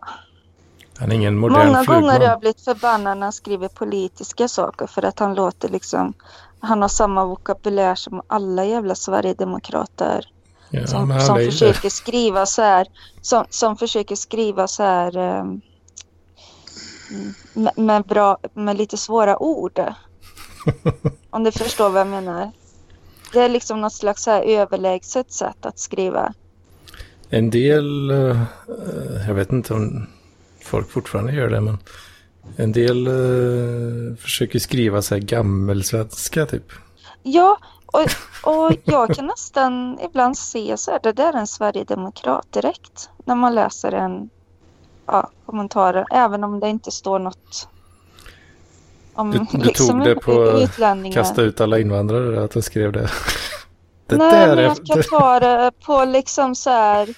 S1: Han är ingen modern
S3: Många
S1: flugman.
S3: gånger har jag blivit förbannad när han skriver politiska saker för att han låter liksom... Han har samma vokabulär som alla jävla Sverigedemokrater.
S1: ja,
S3: som,
S1: men han
S3: som
S1: är ju-
S3: försöker skriva så här, som, som försöker skriva så här ehm, mm, med, med, bra, med lite svåra ord. Om du förstår vad jag menar. Det är liksom något slags så här överlägset sätt att skriva.
S1: En del, eh, jag vet inte om folk fortfarande gör det, men en del eh, försöker skriva så här gammelsvenska typ.
S3: Ja, och, och jag kan nästan ibland se så här, det där är en sverigedemokrat direkt. När man läser en ja, kommentar, även om det inte står något om liksom
S1: Du- du tog det på
S3: utlänningar.
S1: Kasta ut alla invandrare där, att de skrev det. det
S3: Nej,
S1: där
S3: men
S1: är...
S3: jag kan ta det på liksom så här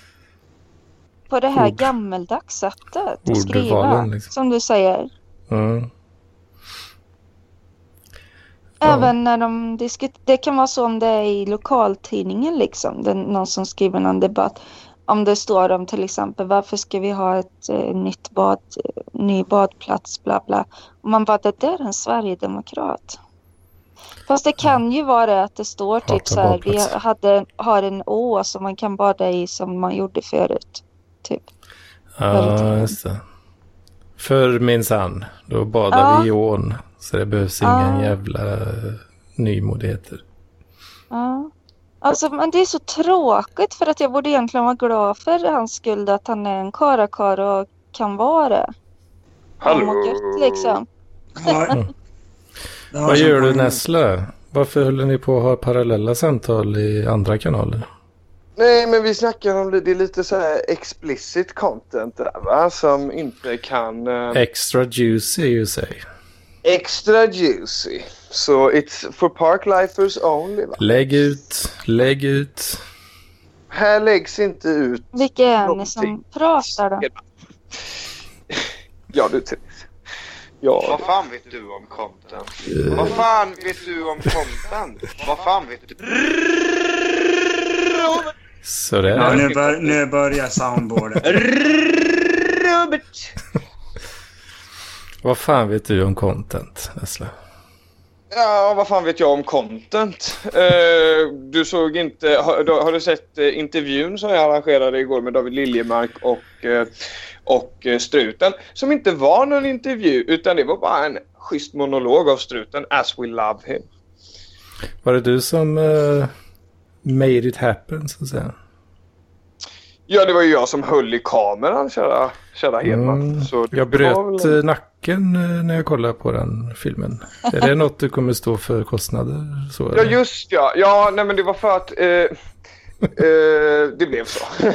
S3: på det här
S1: Ord.
S3: gammeldags sättet att
S1: Ordvalen,
S3: skriva,
S1: liksom.
S3: som du säger.
S1: Mm. Ja.
S3: Även när de diskuterar, det kan vara så om det är i lokaltidningen liksom, det är någon som skriver någon debatt. Om det står om till exempel varför ska vi ha ett eh, nytt bad, eh, ny badplats, bla bla. Och man bara, det där är en sverigedemokrat. Fast det kan ju vara det att det står
S1: Hatar
S3: typ så här, vi
S1: badplatser.
S3: hade, har en å som man kan bada i som man gjorde förut. Typ.
S1: Ja, just det. För minsann, då badar
S3: Ja.
S1: vi i ån. Så det behövs
S3: Ja.
S1: inga jävla eh, nymodigheter.
S3: Ja. Alltså, men det är så tråkigt för att jag borde egentligen vara glad för hans skull att han är en karakar och kan vara det. Han mår gött liksom.
S2: Ja. Det har
S1: Vad
S2: som
S1: gör du
S2: poäng.
S1: Nässlö? Varför höll ni på att ha parallella samtal i andra kanaler?
S6: Nej, men vi snackar om det. Det är lite så här explicit content där, va? Som inte kan... eh,
S1: Extra juicy you say.
S6: extra juicy. Så it's for parklifers only, va?
S1: Lägg ut, lägg ut.
S6: Här läggs inte ut...
S3: Vilka är ni
S6: Någonting.
S3: som pratar då?
S6: Ja, du Therese. Ja,
S4: Vad fan vet du om content? Vad fan vet du om content? Vad fan vet du?
S1: Sådär.
S2: Ja, nu, bör, nu börjar soundboarden.
S6: Robert!
S1: Vad fan vet du om content, Nässlö?
S6: Ja, vad fan vet jag om content? Eh, du såg inte... Har, då- har du sett eh, intervjun som jag arrangerade igår med David Liljemark och, eh, och eh, Struten? Som inte var någon intervju, utan det var bara en schysst monolog av Struten, As We Love Him.
S1: Var det du som eh, made it happen, så att säga?
S6: Ja, det var ju jag som höll i kameran, kära, kära Hedman.
S1: Mm.
S6: Så det
S1: Jag
S6: var
S1: bröt
S6: väl-
S1: eh, nacken eh, när jag kollade på den filmen. Är det något du kommer stå för kostnader? Så,
S6: Ja,
S1: eller?
S6: just ja. Ja, nej men det var för att... Eh, eh, det blev så. nej,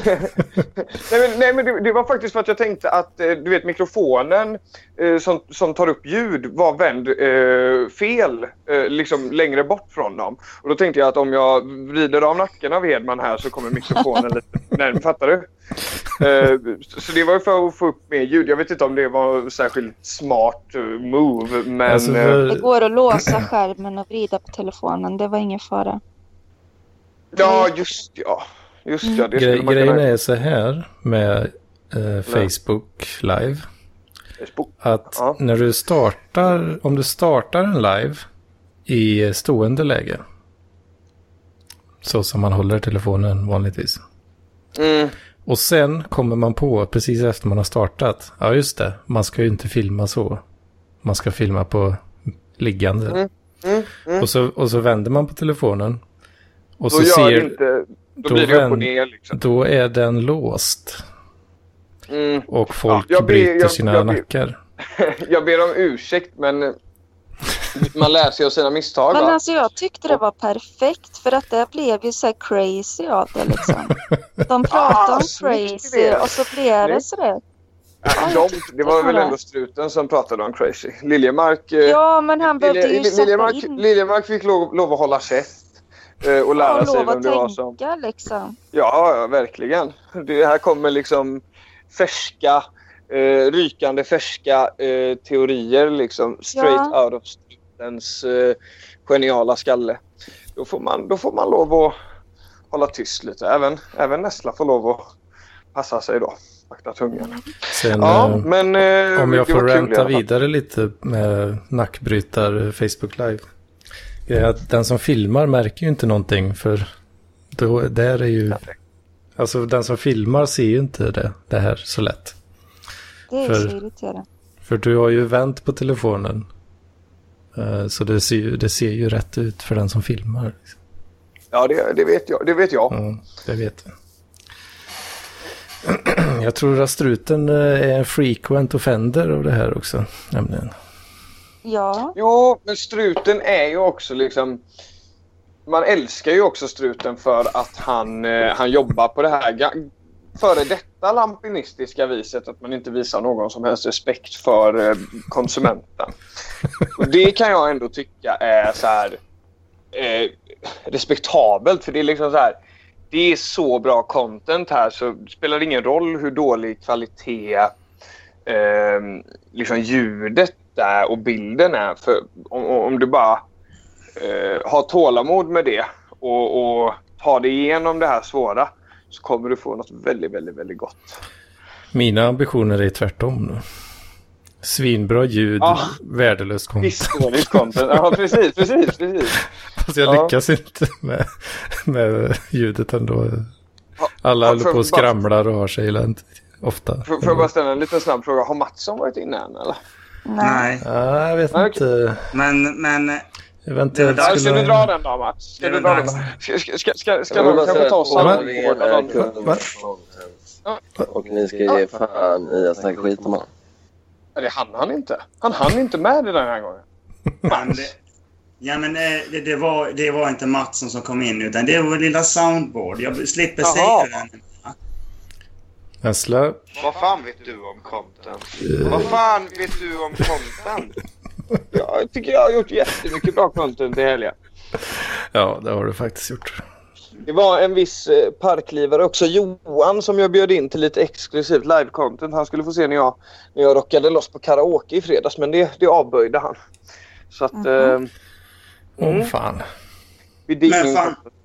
S6: men, nej, men det, det var faktiskt för att jag tänkte att eh, du vet mikrofonen eh, som, som tar upp ljud var vänd eh, fel, eh, liksom längre bort från dem. Och då tänkte jag att om jag vrider av nacken av Hedman här så kommer mikrofonen lite närmare. Fattar du? Eh, så- så det var ju för att få upp mer ljud. Jag vet inte om det var särskilt smart eh, move, men...
S1: Alltså,
S6: eh,
S1: för-
S3: Det går att låsa skärmen och vrida på telefonen. Det var ingen fara.
S6: Ja,
S3: Mm.
S6: just ja. Just ja, det skulle
S1: Gre-
S6: man
S1: grejen
S6: kunna
S1: är så här med eh, Facebook live.
S6: Facebook.
S1: Att
S6: Ja.
S1: när du startar, om du startar en live i stående läge. Så som man håller telefonen vanligtvis.
S6: Mm.
S1: Och sen kommer man på, precis efter man har startat, ja just det, man ska ju inte filma så. Man ska filma på liggande.
S6: Mm,
S1: Och, så, och så vänder man på telefonen. Och
S6: Då
S1: så
S6: gör
S1: ser,
S6: det inte... Då,
S1: då
S6: blir det upp och
S1: vänd-
S6: ner liksom.
S1: då är den låst.
S6: Mm.
S1: Och folk
S6: jag ber-
S1: bryter
S6: jag-
S1: sina
S6: jag ber-
S1: nackar.
S6: Jag ber om ursäkt men man lär sig av sina misstag
S3: Men
S6: va?
S3: alltså jag tyckte det var perfekt för att det blev ju så här crazy av det liksom. De pratade
S6: Ah,
S3: om
S6: snyggt
S3: crazy
S6: idé.
S3: och så blev det
S6: Snyggt.
S3: sådär.
S6: Äh,
S3: jag
S6: de, det var väl
S3: det.
S6: ändå struten som pratade om crazy. Liljemark, eh,
S3: Ja, men han behövde
S6: Lilje-
S3: ju
S6: Lilje-
S3: sätta
S6: Liljemark,
S3: in
S6: Liljemark fick lov, lov att hålla käft. eh, Och lära
S3: och
S6: sig
S3: lov
S6: vem
S3: att
S6: det var som...
S3: tänka liksom.
S6: Ja, ja, verkligen. Det här kommer liksom färska, eh, rykande färska eh, teorier liksom straight out of strutens eh, geniala skalle. Då får, man, då får man lov att hålla tyst lite. Även, även Nessla får lov att passa sig då. Akta tungan.
S1: Sen,
S6: Ja,
S1: eh,
S6: men... eh,
S1: Om
S6: det
S1: jag får
S6: var kul i alla
S1: ranta
S6: fall.
S1: vidare lite med nackbrytar eh, Facebook Live. Det är att den som filmar märker ju inte någonting för då, där är ju... Alltså den som filmar ser ju inte det, det här så lätt.
S3: Det är
S1: För-
S3: så irriterande.
S1: För du har ju vänt på telefonen. Eh, Så det ser, ju, det ser ju rätt ut för den som filmar.
S6: Ja, det, det vet jag. Det vet jag.
S1: Ja, det vet vi. Jag tror att struten eh, är en frequent offender av det här också. Nämligen.
S3: Ja,
S6: Jo, men struten är ju också liksom... Man älskar ju också struten för att han, eh, han jobbar på det här ga- före detta lampinistiska viset att man inte visar någon som helst respekt för eh, konsumenten. Och det kan jag ändå tycka är så här eh, respektabelt för det är liksom så här det är så bra content här så det spelar ingen roll hur dålig kvalitet eh, liksom ljudet är och bilden är. För om, om du bara eh, har tålamod med det och, och tar dig igenom det här svåra så kommer du få något väldigt, väldigt, väldigt gott.
S1: Mina ambitioner är tvärtom. Då. Svinbra ljud,
S6: Ja.
S1: värdelös content.
S6: Visst dåligt content. Ja, precis, precis, precis.
S1: Fast jag
S6: Ja.
S1: lyckas inte med, med ljudet ändå. Alla
S6: ja,
S1: håller
S6: får
S1: på och
S6: jag bara-
S1: skramlar och har sig illa en- ofta.
S6: Får får jag bara ställa en liten snabb fråga. Har Mattsson varit inne än eller?
S3: nej.
S2: Nej,
S1: Ja, jag vet
S6: Nej,
S1: inte.
S2: men, men
S1: Eventuellt
S2: Det är
S6: Där, ska du dra
S1: skulle...
S6: den då Mats? Ska
S2: Det är
S6: du
S2: väl
S6: dra den?
S2: dags.
S6: Ska, ska, ska, ska, ska
S7: Jag vill
S6: de
S7: bara
S6: kanske
S7: säga
S6: ta
S7: att
S6: oss samman?
S7: Åhlén är kung
S1: Va?
S7: från hem. Och ni ska ge fan i att snacka skit om honom.
S6: Det hann han inte. Han hann inte med det den här gången.
S2: Ja, men, det, ja, men eh, det, det, var, det var inte Mattsson som kom in utan det var vår lilla soundboard. Jag slipper
S6: Jaha.
S2: säga den.
S1: Näsla,
S4: Vad fan vet du om content? Vad fan vet du om content?
S6: Jag tycker jag har gjort jättemycket bra content i helgen.
S1: ja det har du faktiskt gjort.
S6: Det var en viss eh, parklivare också, Johan, som jag bjöd in till lite exklusivt live-content. Han skulle få se när jag, när jag rockade loss på karaoke i fredags, men det, det avböjde han. Så att... Eh,
S1: Åh
S6: Mm.
S1: fan.
S6: vi det är
S2: Men
S6: ingen
S2: fan.
S6: content.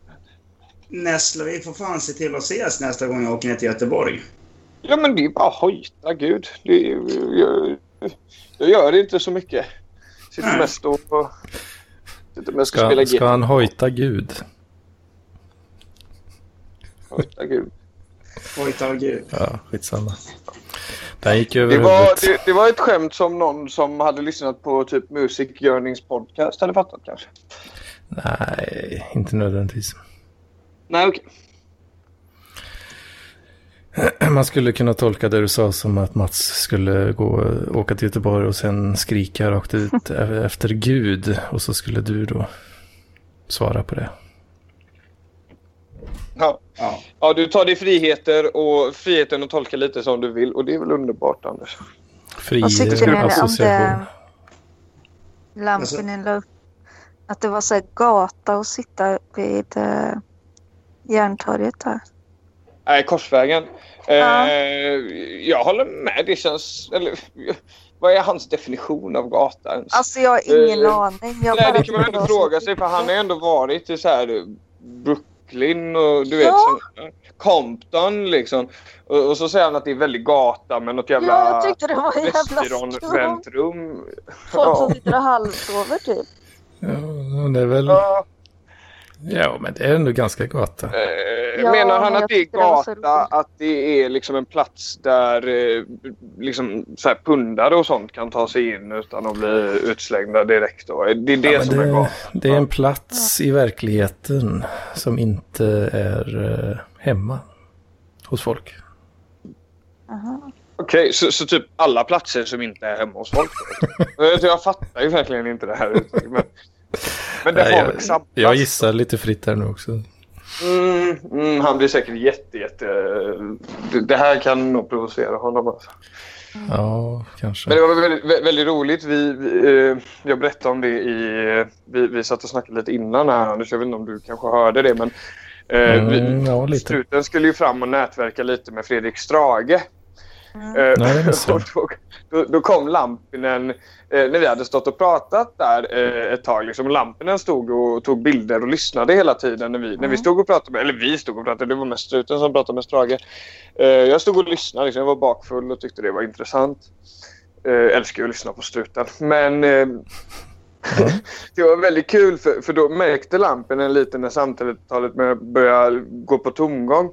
S2: Nästa, vi får fan se till att ses nästa gång jag åker ner till Göteborg.
S6: Ja, men det är bara hojta, gud. Det, är ju- jag, jag gör inte så mycket. Sitter
S2: Nej.
S6: mest och... och sitter mest och spelar
S1: Ska, ska
S6: gitarr.
S1: han hojta Gud?
S6: Hojta, gud.
S2: Oj, ta gud.
S1: Ja, skitsamma. Den gick över
S6: Det var,
S1: huvudet.
S6: det, det var ett skämt som någon som hade lyssnat på typ Music Yearnings podcast hade fattat kanske.
S1: Nej, inte nödvändigtvis.
S6: Nej, okej.
S1: Man skulle kunna tolka det du sa som att Mats skulle gå, åka till Göteborg och sen skrika rakt ut e- efter Gud. Och så skulle du då svara på det.
S6: Ja.
S2: Ja.
S6: Ja, du tar dig friheter och friheten att tolka lite som du vill och det är väl underbart Anders.
S1: Fri
S3: Och
S1: eh,
S3: cykeln är det om
S1: association.
S3: det... Lampinen la upp. Att det var så här gata att sitta vid eh, Järntorget där.
S6: Nej, Korsvägen.
S3: Ja.
S6: Eh, jag håller med. Det känns... Eller, vad är hans definition av gata ens?
S3: Alltså jag har ingen
S6: Eh,
S3: aning. Jag
S6: Nej,
S3: bara-
S6: det kan man ändå fråga sig för han har ändå varit i så här eh, Brooklyn och du vet
S3: Ja.
S6: som, eh, Compton liksom. Och, och så säger han att det är väldigt gata med något
S3: Ja,
S6: jävla
S3: jag tyckte det var en jävla skrum.
S6: västrånvänt rum.
S3: Folk
S6: Ja.
S3: som sitter och halvsover typ.
S1: Ja, det är väl...
S6: Ja.
S1: Ja, men det är ändå ganska gata.
S6: Eh,
S3: Ja,
S6: menar han
S3: men
S6: att
S3: jag
S6: det är
S3: tyckte det var så
S6: gata,
S3: roligt.
S6: att det är liksom en plats där eh, liksom så här pundare och sånt kan ta sig in utan att bli utslängda direkt? Då. Det är det
S1: Ja, men
S6: som är
S1: det,
S6: gata.
S1: det är en plats i verkligheten som inte är eh, hemma hos folk.
S3: Aha.
S6: Okej, så, så typ alla platser som inte är hemma hos folk? då? Eh, jag fattar ju verkligen inte det här uttrycket. Men, men det
S1: Nej,
S6: har väl samma
S1: Jag
S6: plats.
S1: gissar lite fritt här nu också.
S6: Mm, mm, han blir säkert jätte, jätte... Det, det här kan nog provocera honom. Alltså.
S1: Ja, kanske.
S6: Men det var väldigt, vä- väldigt roligt. Vi, vi, eh, jag berättade om det i... eh, Vi, vi satt och snackade lite innan här Anders. Jag vet inte om du kanske hörde det men... Eh, vi,
S1: Mm, ja, lite.
S6: Struten skulle ju fram och nätverka lite med Fredrik Strage.
S3: Mm.
S6: Eh,
S1: Nej, det är
S6: då,
S1: så.
S6: då, då, då kom Lampinen, eh, när vi hade stått och pratat där eh, ett tag, liksom, Lampinen stod och tog bilder och lyssnade hela tiden när vi, när vi stod och pratade. Med, eller vi stod och pratade, det var mest Struten som pratade med Strage. Eh, jag stod och lyssnade, liksom, jag var bakfull och tyckte det var intressant. Eh, älskar ju att lyssna på Struten. Men eh, det var väldigt kul för, för då märkte Lampinen lite när samtalet med- började gå på tomgång.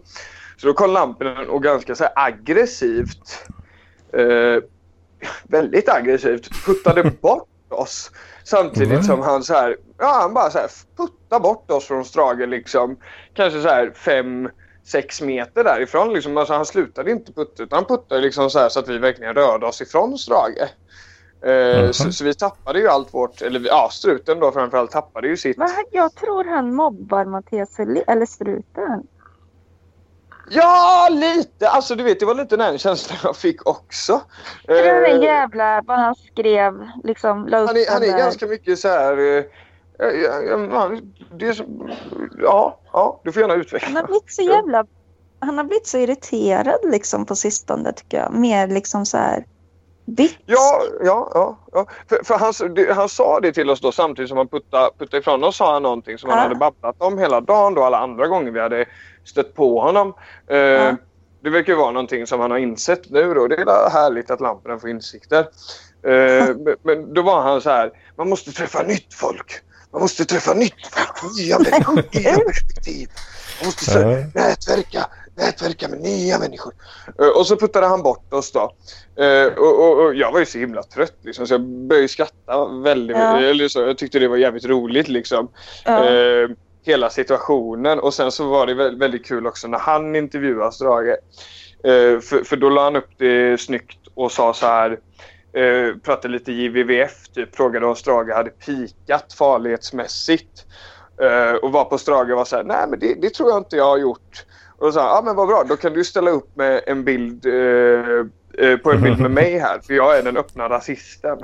S6: Så då kom Lampinen och ganska så här aggressivt, eh, väldigt aggressivt, puttade bort oss.
S1: Mm.
S6: Samtidigt som han så här, ja han bara så här puttade bort oss från Strage liksom. Kanske så här fem, sex meter därifrån liksom. Alltså han slutade inte putta utan han puttade liksom så här så att vi verkligen rörde oss ifrån Strage. Eh,
S1: Mhm.
S6: så, så vi tappade ju allt vårt, eller vi- ja, struten då framförallt tappade ju sitt.
S3: Men han- jag tror han mobbar Mattias Helén, eller
S6: Eh.
S3: struten.
S6: Ja, lite! Alltså du vet, det var lite den känslan jag fick också.
S3: För det var den
S6: Eh,
S3: jävla, vad han skrev, liksom la upp
S6: han, är, han är
S3: alla-
S6: ganska mycket så här... eh, ja, ja, ja, det är som, ja, ja, du får gärna
S3: Han
S6: utveckla.
S3: har blivit så jävla... Han har blivit så irriterad liksom på sistone tycker jag. Mer liksom så här... Bitch.
S6: Ja, ja, ja. ja. För, för han, s- det- han sa det till oss då samtidigt som han puttade, puttade ifrån oss sa han någonting som han
S3: Ja.
S6: hade babblat om hela dagen då alla andra gånger vi hade stött på honom. Eh,
S3: Ja.
S6: Det verkar ju vara någonting som han har insett nu då. Det är väl härligt att lamporna får insikter. Eh, men, men då var han så här, man måste träffa nytt folk. Man måste träffa nytt folk, nya människor, nya perspektiv. Man måste sö-
S1: Ja.
S6: nätverka, nätverka med nya människor. Eh, Och så puttade han bort oss då. Eh, och, och, och jag var ju så himla trött liksom, så jag började skratta väldigt
S3: Ja.
S6: mycket. Eller så, jag tyckte det var jävligt roligt liksom.
S3: Ja.
S6: Eh, hela situationen. Och sen så var det vä- väldigt kul också när han intervjuas Drage. Eh, för, för då la han upp det snyggt och sa så här eh, pratade lite JVVF, typ, frågade om Strage hade pikat farlighetsmässigt. Eh, och var på Strage och var så här, nej men det, det tror jag inte jag har gjort. Och då sa han, ja ah, men vad bra, då kan du ställa upp med en bild eh, eh, på en bild med mig här, för jag är den öppna rasisten.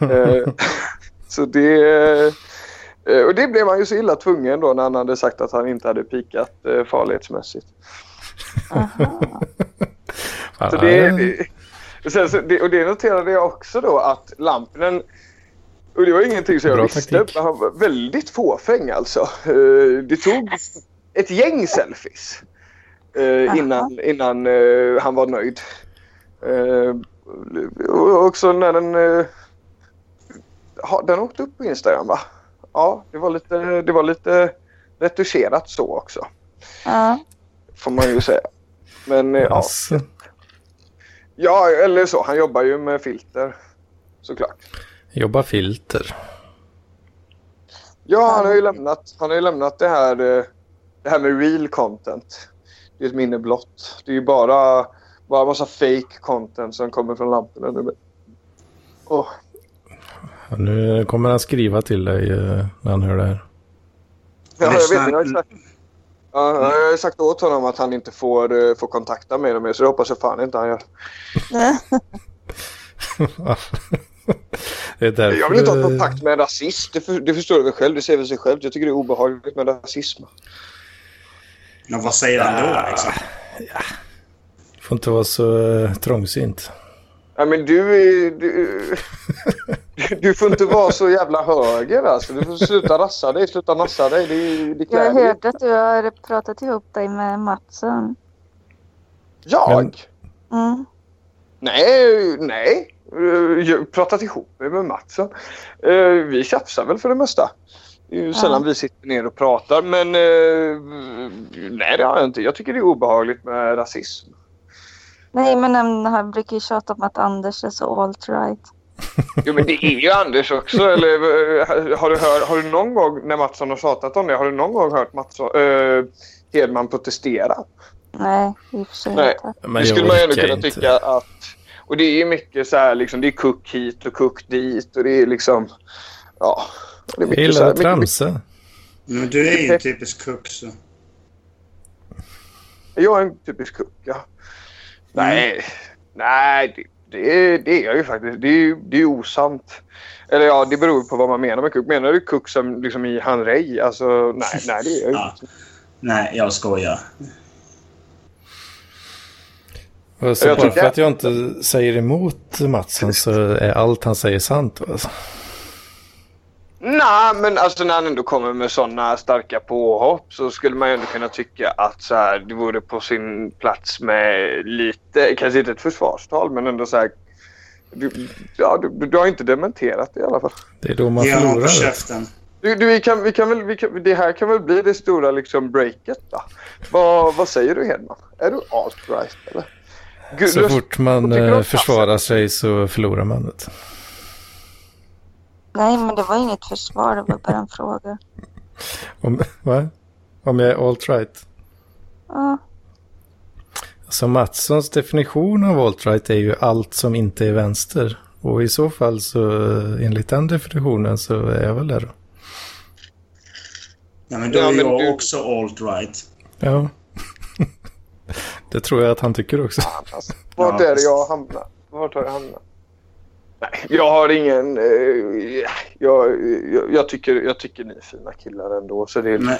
S6: Eh, så det... eh, Och det blev han ju så illa tvungen då när han hade sagt att han inte hade pikat eh, farlighetsmässigt.
S3: Aha.
S6: Så det, det, sen, så det, och det noterade jag också då att Lampinen och det var ingenting som jag
S1: Bra
S6: visste.
S1: taktik.
S6: men Han var väldigt fåfäng alltså. Eh, Det tog ett gäng selfies eh,
S3: Aha.
S6: innan, innan eh, han var nöjd. Eh, Och också när den... eh, ha- Den åkte upp på Instagram va? Ja, det var lite, det var lite retuscherat så också.
S3: Ja.
S6: Får man ju säga. Men eh, ja.
S1: Alltså,
S6: Ja, eller så. Han jobbar ju med filter. Såklart.
S1: jobba filter.
S6: Ja, han har ju lämnat, han har ju lämnat det, här, eh, det här med real content. Det är ett minne blott. Det är ju bara, bara massa fake content som kommer från lamporna nu. Åh,
S1: Ja, Nu kommer han skriva till dig eh, när han hör det här.
S6: ja, jag vet
S2: Lyssna.
S6: inte. Jag har ju sagt, ja, jag har ju sagt åt honom att han inte får, eh, får kontakta mig mer, så det hoppas jag fan inte han gör.
S1: det är därför...
S6: Jag vill inte ha
S1: du-
S6: kontakt med en rasist. Det, för, det förstår du väl själv? Det säger väl sig själv. Jag tycker det är obehagligt med rasism.
S2: Ja, vad säger han
S6: Ah.
S2: då liksom?
S1: får inte vara så eh, trångsynt.
S6: Ja, men du, är- du, du får inte vara så jävla höger alltså. Du får sluta rassa dig, sluta nassa dig. Det, det
S3: Jag
S6: klär dig.
S3: hörde att du har pratat ihop dig med Mattsson.
S6: Jag?
S1: Men-
S3: Mm.
S6: Nej, nej. Eh, Jag har pratat ihop mig med Mattsson. Eh, Vi tjafsar väl för det mesta. Det är ju sällan vi sitter ner och pratar men eh, nej det har jag inte. Jag tycker det är obehagligt med rasism.
S3: Nej men han, han brukar ju tjata om att Anders är så alt-right.
S6: Jo men det är ju Anders också. Eller, eh, har, du hör, har du någon gång när Mattsson har tjatat om det, har du någon gång hört Mattsson, eh, Hedman protestera?
S3: Nej i och för sig
S6: Nej.
S3: inte.
S1: Men
S6: det
S1: jag
S6: skulle man ju ändå
S1: orkar
S6: kunna
S1: inte.
S6: tycka att... Och det är ju mycket så här liksom, det är kuck hit och kuck dit och det är liksom... Ja. Det är
S1: Jag
S6: mycket
S1: gillar
S6: så här,
S1: att
S6: mycket,
S1: tramsa.
S2: Men du är ju en typisk kuck så.
S6: mycket- jag är en typisk kuck, ja. Nej, nej det, det, det är jag ju faktiskt. Det är ju det är ju osant. Eller ja, det beror ju på vad man menar med kuck. Menar du kuck som liksom i han Rey? Alltså nej, nej det är jag ju
S2: Ja. Nej, jag skojar.
S1: Och så
S6: Jag
S1: bara
S6: tycker-
S1: för att jag inte säger emot Matsen så är allt han säger sant. Alltså.
S6: Nej, men alltså när han ändå kommer med sådana starka påhopp så skulle man ju ändå kunna tycka att så här, det vore på sin plats med lite, kanske inte ett försvarstal, men ändå så här. Du, ja, du, du har inte dementerat det i alla fall.
S1: Det är då man
S2: Ge honom på
S1: förlorar.
S2: käften.
S6: Du, du, vi kan, vi kan väl, vi kan, det här kan väl bli det stora liksom breaket då? Vad, vad säger du Hedman? Är du alt-right eller? Gud,
S1: Så
S6: du-
S1: fort man
S6: tycker du om
S1: eh,
S6: Matsen?
S1: försvarar sig så förlorar man det.
S3: Nej, men det var inget försvar, det var bara en fråga.
S1: Om, va? Om jag är alt-right?
S3: Ja,
S1: Alltså Mattssons definition av alt-right är ju allt som inte är vänster. Och i så fall så eh, enligt den definitionen så är jag väl där då.
S2: Ja, men då
S6: Ja,
S2: är
S6: men
S2: jag
S6: du-
S2: också alt-right.
S1: Ja. det tror jag att han tycker också.
S6: Alltså, vart
S2: Ja.
S6: är det jag hamnar? Vart har jag hamnat? Nej, jag har ingen... Eh, jag, jag, jag, tycker, jag tycker ni är fina killar ändå. Så det
S1: Mm,
S6: är,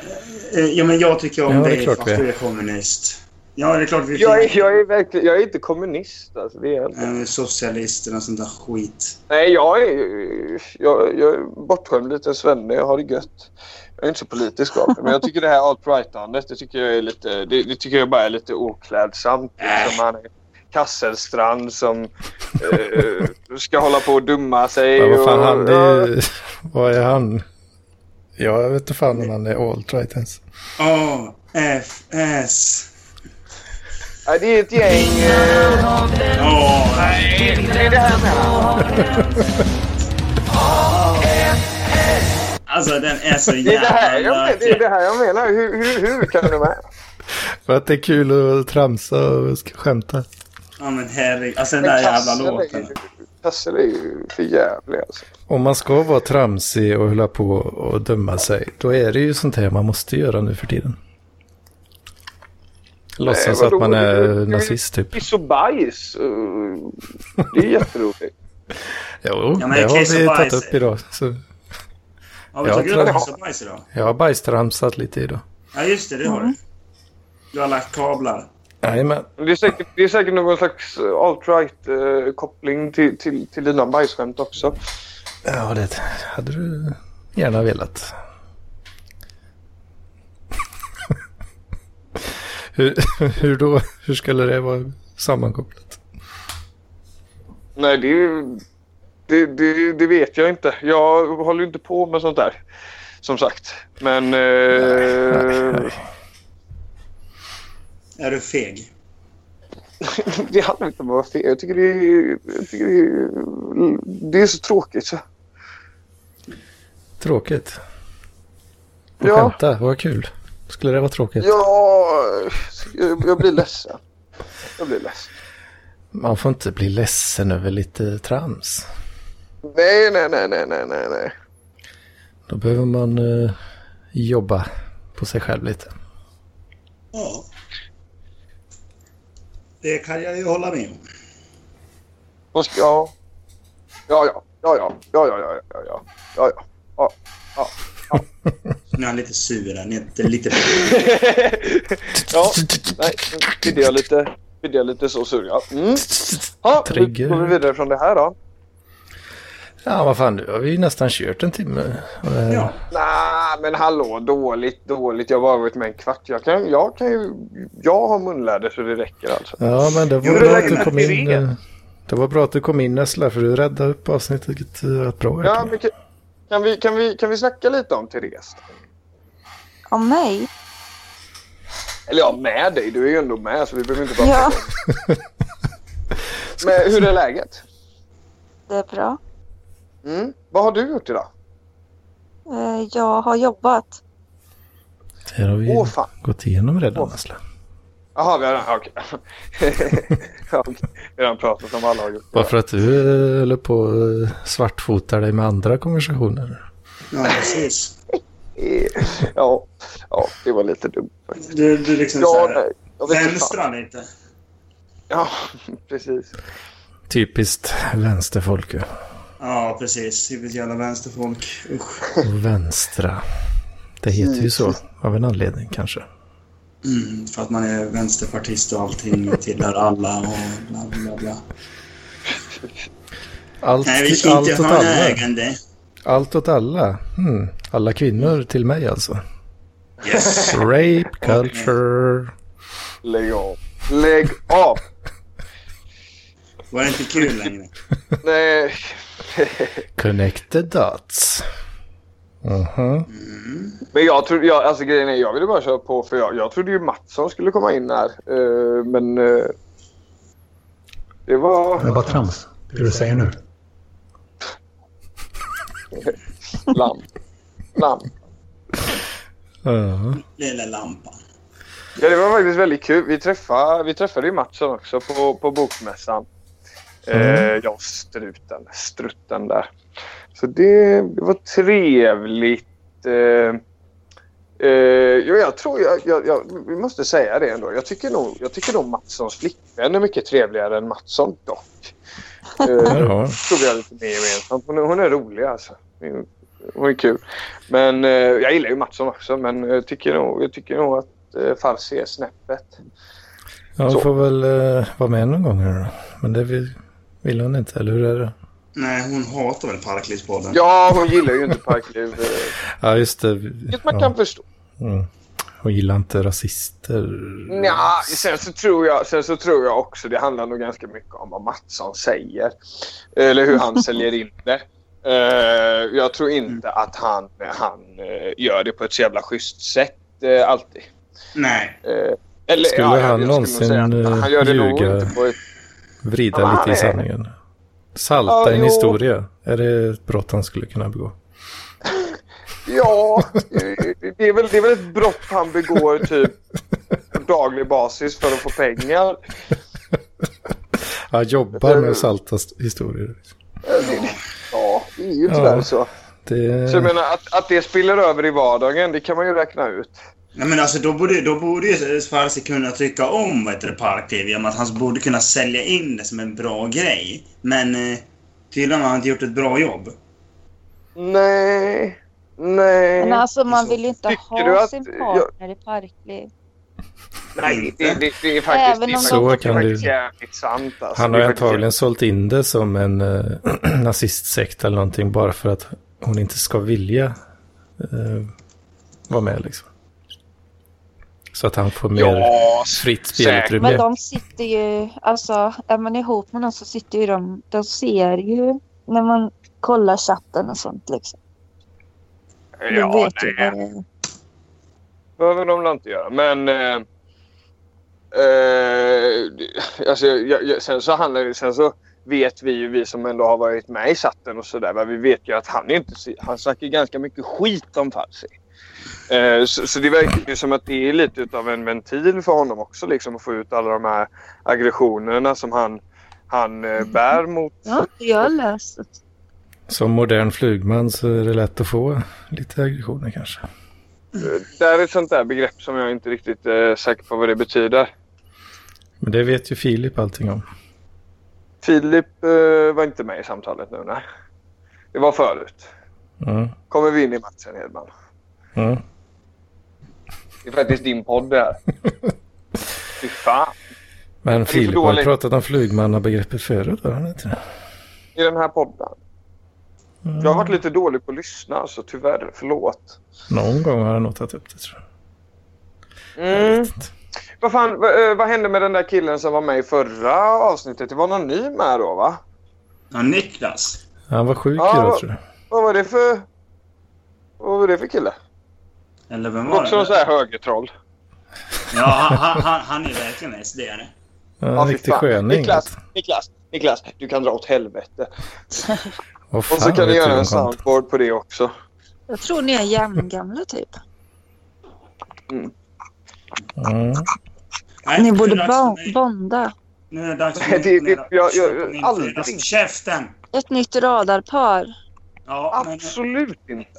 S2: Men, eh, ja, men jag tycker om
S1: Ja, det är
S2: dig
S1: klart
S2: fast
S1: vi är.
S2: du är kommunist. Ja, det är klart vi
S6: jag, är, jag, är verkligen, jag är inte kommunist. Alltså, det är jag inte.
S1: Mm.
S2: Eh, Socialister och sånt där skit.
S6: Nej, jag är, jag, jag är bortskämd liten svenne. Jag har det gött. Jag är inte så politisk av mig, men jag tycker det här alt-right-andet, det tycker jag är lite, det, det tycker jag bara är lite oklädsamt.
S1: Äh.
S6: Liksom han är Kasselstrand som eh, ska hålla på och dumma sig.
S1: Ja, vad fan,
S6: och-
S1: han är... Vad är han? Ja, jag vet inte fan om han är alt-right ens.
S2: A, F, S.
S6: Ja, det är ett gäng. eh,
S2: Åh, nej.
S6: Det är det här med.
S2: Alltså, den är så
S6: Det är det här
S2: jävla
S6: jag, det är det här jag menar. Hur, hur, hur kan du med?
S1: För att det är kul att tramsa och sk- skämta.
S2: Ja, men herregud. Alltså, den där jävla
S6: Kassel är
S2: låten.
S6: ju- Kassel är ju för jävlig alltså.
S1: Om man ska vara tramsig och hålla på och döma sig, då är det ju sånt här man måste göra nu för tiden. Låtsas
S6: Eh, vadå?
S1: att man
S6: Du- du-
S1: är
S6: du-
S1: nazist typ.
S6: Kiss och bajs. eh, Det är jätteroligt.
S1: Jo,
S2: Ja, men
S1: det
S2: kiss
S1: har
S2: och
S1: vi
S2: bajs-
S1: tagit upp idag. Så
S2: Har vi
S1: Ja,
S2: tagit
S1: tror
S2: upp
S1: jag.
S2: Kiss och bajs idag?
S1: jag har bajstramsat lite idag.
S2: Ja, just det. Det har
S6: Mm.
S2: du. Du har lagt kablar.
S1: Jajamän.
S6: Det är säkert, det är säkert någon slags eh, alt-right-koppling till, till, till dina bajsskämt också.
S1: Ja, det hade du gärna velat. hur, hur då? Hur skulle det vara sammankopplat?
S6: Nej, det, är ju- det, det, det vet jag inte. Jag håller ju inte på med sånt där. Som sagt. Men... eh,
S2: Är du feg?
S6: Det handlar inte om att vara fel. Jag tycker det är, jag tycker det är, det är så tråkigt. Så.
S1: Tråkigt. Och
S6: Ja.
S1: skämta, vad kul. Skulle det vara tråkigt?
S6: Ja, jag, jag blir ledsen. Jag blir ledsen.
S1: Man får inte bli ledsen över lite trams.
S6: Nej, nej, nej, nej, nej, nej, nej.
S1: Då behöver man eh, jobba på sig själv lite.
S2: Ja. Det kan jag ju hålla med om.
S6: Vad ska- Ja. Ja, ja, ja, ja, ja, ja, ja, ja, ja, ja, ja.
S2: Nu är han lite sur. Han är inte lite...
S6: ja. Nej, nu bidde jag lite, bidde jag lite så sur ja. Mm. Ja, då
S1: Trigger.
S6: går vi vidare från det här då.
S1: Ja, vad fan, nu har vi ju nästan kört en timme. Och det här-
S2: Ja.
S6: Nej, men hallå, dåligt, dåligt. Jag har bara varit med en kvart. Jag kan, jag kan ju, jag har munläder så det räcker alltså.
S1: Ja, men det var
S2: Jo, det
S1: bra
S2: var
S1: att du
S2: innan
S1: kom
S6: vi
S1: in.
S6: red.
S1: eh, Det var bra att du kom in Nessla, för du räddade upp avsnittet eh, rätt bra.
S6: Ja,
S1: verkligen.
S6: men kan, kan, vi, kan, vi, kan vi snacka lite om Therese?
S3: om mig?
S6: Eller ja, med dig. Du är ju ändå med så vi behöver inte bara...
S3: Ja,
S6: Men hur är läget?
S3: det är bra.
S6: Mm? Vad har du gjort idag?
S3: Eh, Jag har jobbat.
S1: Det har vi
S6: Åh fan.
S1: gått igenom redan
S6: Åh.
S1: Nessla.
S6: Jaha, vi har redan... Okej. Ja, okej. Vi har redan pratat om vad alla har gjort.
S1: Bara för att du eh, håller på och eh, svartfotar dig med andra konversationer.
S2: Ja, precis.
S6: Eh, Ja, ja det var lite dumt faktiskt.
S2: Du, du liksom
S6: Ja,
S2: så här,
S6: nej, jag vet inte fan.
S2: vänstra lite.
S6: Ja, precis.
S1: Typiskt vänsterfolk ju.
S2: Ja, precis. Typiskt jävla vänsterfolk. Usch.
S1: Mm. Och vänstra. Det heter ju så av en anledning kanske.
S2: Mm, för att man är vänsterpartist och allting och tillhör alla och bla bla bla.
S1: Allt,
S2: Nej, vi
S1: till-
S2: ska
S1: allt
S2: inte
S1: åt
S2: ha
S1: alla.
S2: ägande.
S1: Allt åt alla. Hmm. Alla kvinnor till mig alltså.
S2: Mm. Yes.
S1: Rape culture.
S6: Lägg av. Lägg av!
S2: Var det inte kul längre?
S6: Nej.
S1: Connect the dots. Mhm.
S6: Men jag tror, jag, alltså grejen är, jag ville bara köra på för jag, jag trodde ju Mattsson skulle komma in här. Eh, men... eh, det
S8: Det är
S6: var
S8: bara trams, det du säger nu.
S6: lamm. Lamm.
S1: Ja.
S2: Lilla lampan.
S6: Ja, det var faktiskt väldigt kul. Vi träffade, vi träffade ju Mattsson också på, på bokmässan. Eh, ja, struten, strutten där. Så det, det var trevligt. Eh, eh, jo, jag tror, jag, jag, jag, vi måste säga det ändå. Jag tycker nog, jag tycker nog Mattssons flickvän är mycket trevligare än Mattsson dock. Eh,
S1: Jaha.
S6: tror vi har lite mer gemensamt. Hon, är- hon är rolig alltså. Hon är kul. Men eh, jag gillar ju Mattsson också men jag tycker nog, jag tycker nog att eh, Farsi är snäppet.
S1: Jag
S6: Så.
S1: får väl eh, vara med någon gång här då. Men det vill, vill hon inte, eller hur är det?
S2: Nej, hon hatar väl Parklivspodden.
S6: Ja, hon gillar ju inte Parkliv. eh,
S1: Ja, just det.
S6: Vilket man kan
S1: Ja.
S6: förstå.
S1: Mm. Hon gillar inte rasister.
S6: Nja, sen så, tror jag, sen så tror jag också det handlar nog ganska mycket om vad Mattsson säger. Eller hur han säljer in det. Eh, jag tror inte att han, han eh, gör det på ett så jävla schysst sätt eh, alltid.
S2: Nej.
S6: Eh, eller,
S1: Skulle
S6: ja, jag-
S1: han
S6: jag skulle nog
S1: någonsin,
S6: säga att
S1: eh,
S6: Han gör det nog
S1: ljuga?
S6: inte på ett...
S1: Vrida
S6: Ja,
S1: lite i
S6: nej.
S1: sanningen. Salta
S6: Ja,
S1: en
S6: jo.
S1: historia. Är det ett brott han skulle kunna begå?
S6: Ja, eh, det är, väl, det är väl ett brott han begår typ på daglig basis för att få pengar.
S1: Han jobbar med att salta st- historier.
S6: Ja, det är ju tyvärr
S1: Ja.
S6: så.
S1: Det...
S6: Så jag menar att, att det spiller över i vardagen, det kan man ju räkna ut.
S2: Nej men alltså då borde, då borde ju Farsi kunna tycka om vad heter det, Parkliv genom att han borde kunna sälja in det som en bra grej. Men eh, tydligen har han inte gjort ett bra jobb.
S6: Nej, nej.
S3: Men alltså man
S2: Så.
S3: vill ju inte
S6: Eh, Tycker du
S3: ha
S6: att-
S3: sin
S6: jag-
S3: partner i parkliv.
S6: nej det, det, det är faktiskt,
S3: alltså- Även
S6: det är
S3: om
S6: faktiskt,
S1: de-
S6: det
S1: Så
S6: är
S1: kan
S6: faktiskt
S1: du-
S6: jävligt sant. Alltså.
S1: Han
S6: Det
S1: har
S6: är
S1: ju
S6: faktiskt
S1: antagligen sålt in det som en eh, nazistsekt eller någonting bara för att hon inte ska vilja eh, vara med liksom. Så att han får mer
S6: jävligt- Ja,
S1: fritt
S3: Men
S1: spelutrymme.
S3: de sitter ju, alltså är man ihop med någon så sitter ju de, de ser ju när man kollar chatten och sånt liksom. De
S6: ja,
S3: vet ju
S6: nej.
S3: vad det är.
S6: behöver de väl inte göra. Men... Eh, eh, alltså, jag, jag, sen så handlar det, Sen så vet vi ju, vi som ändå har varit med i chatten och sådär. va, Vi vet ju att han är inte... så- Han snackar ju ganska mycket skit om Farsi. Eh, så, så det verkar ju som att det är lite utav en ventil för honom också liksom att få ut alla de här aggressionerna som han, han eh, bär mot.
S3: Ja, jag har läst. det.
S1: Som modern flugman så är det lätt att få lite aggressioner kanske.
S6: Eh, Det här är ett sånt där begrepp som jag inte riktigt eh, är säker på vad det betyder.
S1: Men det vet ju Filip allting om.
S6: Filip eh, var inte med i samtalet nu, nej. Det var förut.
S1: Mm.
S6: Kommer vi in i matchen, Hedman?
S1: Mm.
S6: Det är faktiskt din podd det här. Fy fan.
S1: Men
S6: för
S1: Filip har ju
S6: dåligt.
S1: pratat om flugmannabegreppet förut, har han inte det?
S6: I den här podden.
S1: Mm.
S6: Jag har varit lite dålig på att lyssna, så tyvärr. Förlåt.
S1: Någon gång har han nog tagit upp det tror jag. Jag
S6: Mm.
S1: vet inte.
S6: Vad fan, vad, eh, vad hände med den där killen som var med i förra avsnittet? Det var någon ny med då, va?
S2: Ja, Niklas.
S1: Han var sjuk
S6: Ja,
S1: idag
S6: vad-
S1: tror jag.
S6: Vad var det för... Vad var det för kille?
S2: Eller vem
S6: Det var
S2: var
S6: också någon sån
S2: det?
S6: här högertroll.
S2: Ja, han, han- han, han är verkligen sd -are.
S1: Ja,
S6: Ja,
S1: En
S6: fy
S1: riktig
S6: fan.
S1: sköning. alltså.
S6: Niklas, Niklas, Niklas, du kan dra åt helvete.
S1: Vad
S6: Och så
S1: fan
S6: kan du
S1: vet
S6: göra
S1: om
S6: en
S1: sånt?
S6: soundboard på det också.
S3: Jag tror ni är jämngamla typ.
S1: Mm.
S2: Nej,
S3: Ni
S2: nu är
S3: borde
S2: det dags för mig.
S3: bo- bonda.
S2: Nu är det dags för
S6: Det- det-
S2: mig att
S6: jag- jag-
S2: köpa min
S6: aldrig.
S2: fredags- Käften!
S3: Ett nytt radarpar.
S2: Ja, men
S6: Absolut inte.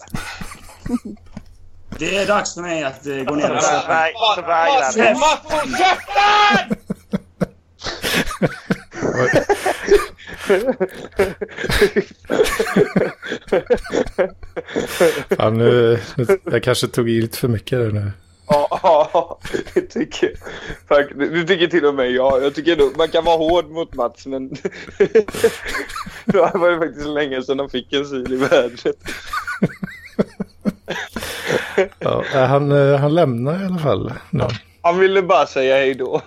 S2: det är dags för mig att eh, gå ner och köpa.
S5: Mattsson, Mattsson, käften!
S1: Fan, nu, nu, jag kanske tog i lite för mycket där nu.
S6: Ja, ja, det tycker jag. Tack. Du tycker till och med jag. Jag tycker ändå, man kan vara hård mot Mats, men det var ju faktiskt länge sedan han fick en syl i vädret.
S1: Ja, han, eh, han lämnar i alla fall. nu.
S6: Han ville bara säga hej då.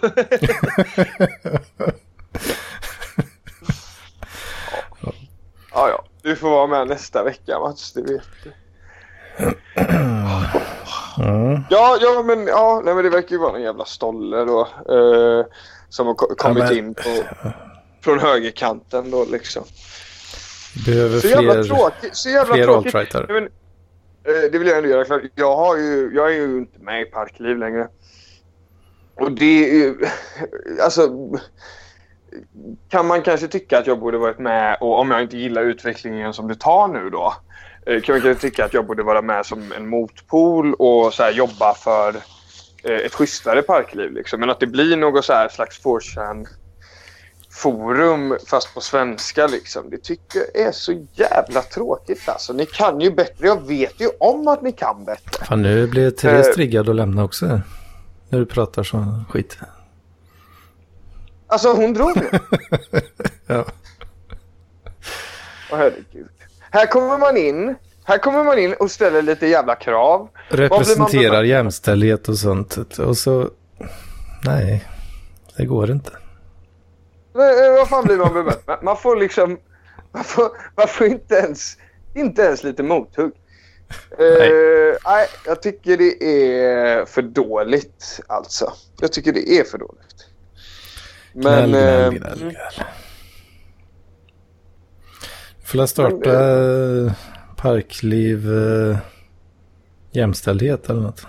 S6: ja, ja. Du får vara med nästa vecka, Mats. Det vet du.
S1: Mm.
S6: Ja, ja, men, ja nej, men det verkar ju vara någon jävla stolle då. Eh, som har ko- kommit
S1: men-
S6: in på, från högerkanten då liksom.
S1: Behöver
S6: Så jävla
S1: fler,
S6: tråkigt. Så jävla
S1: fler
S6: tråkigt.
S1: alt-rightare.
S6: Nej, men, eh, det vill jag ändå göra klart. Jag, har ju, jag är ju inte med i Parkliv längre. Och det är ju... Alltså... Kan man kanske tycka att jag borde varit med och om jag inte gillar utvecklingen som det tar nu då. eh, Kan man kanske tycka att jag borde vara med som en motpol och så här jobba för eh, ett schysstare parkliv. Liksom. Men att det blir något så här slags 4 forum fast på svenska liksom. Det tycker jag är så jävla tråkigt alltså. Ni kan ju bättre. Jag vet ju om att ni kan bättre.
S1: Fan, nu blir Therese
S6: Eh.
S1: triggad att lämna också. När du pratar sån skit.
S6: Alltså hon drog ju.
S1: Ja.
S6: Åh herregud. Här kommer man in. Här kommer man in och ställer lite jävla krav.
S1: Representerar jämställdhet och sånt. Och så... Nej, det går inte.
S6: Men, eh, Vad fan blir man bemött med? Man får liksom... Man får, man får inte, ens, inte ens lite mothugg. Nej. nej, jag tycker det är för dåligt alltså. Jag tycker det är för dåligt. Men...
S1: Gnäll, gnäll,
S6: eh,
S1: gnäll, gnäll. Får jag starta eh, Parkliv eh, jämställdhet eller något?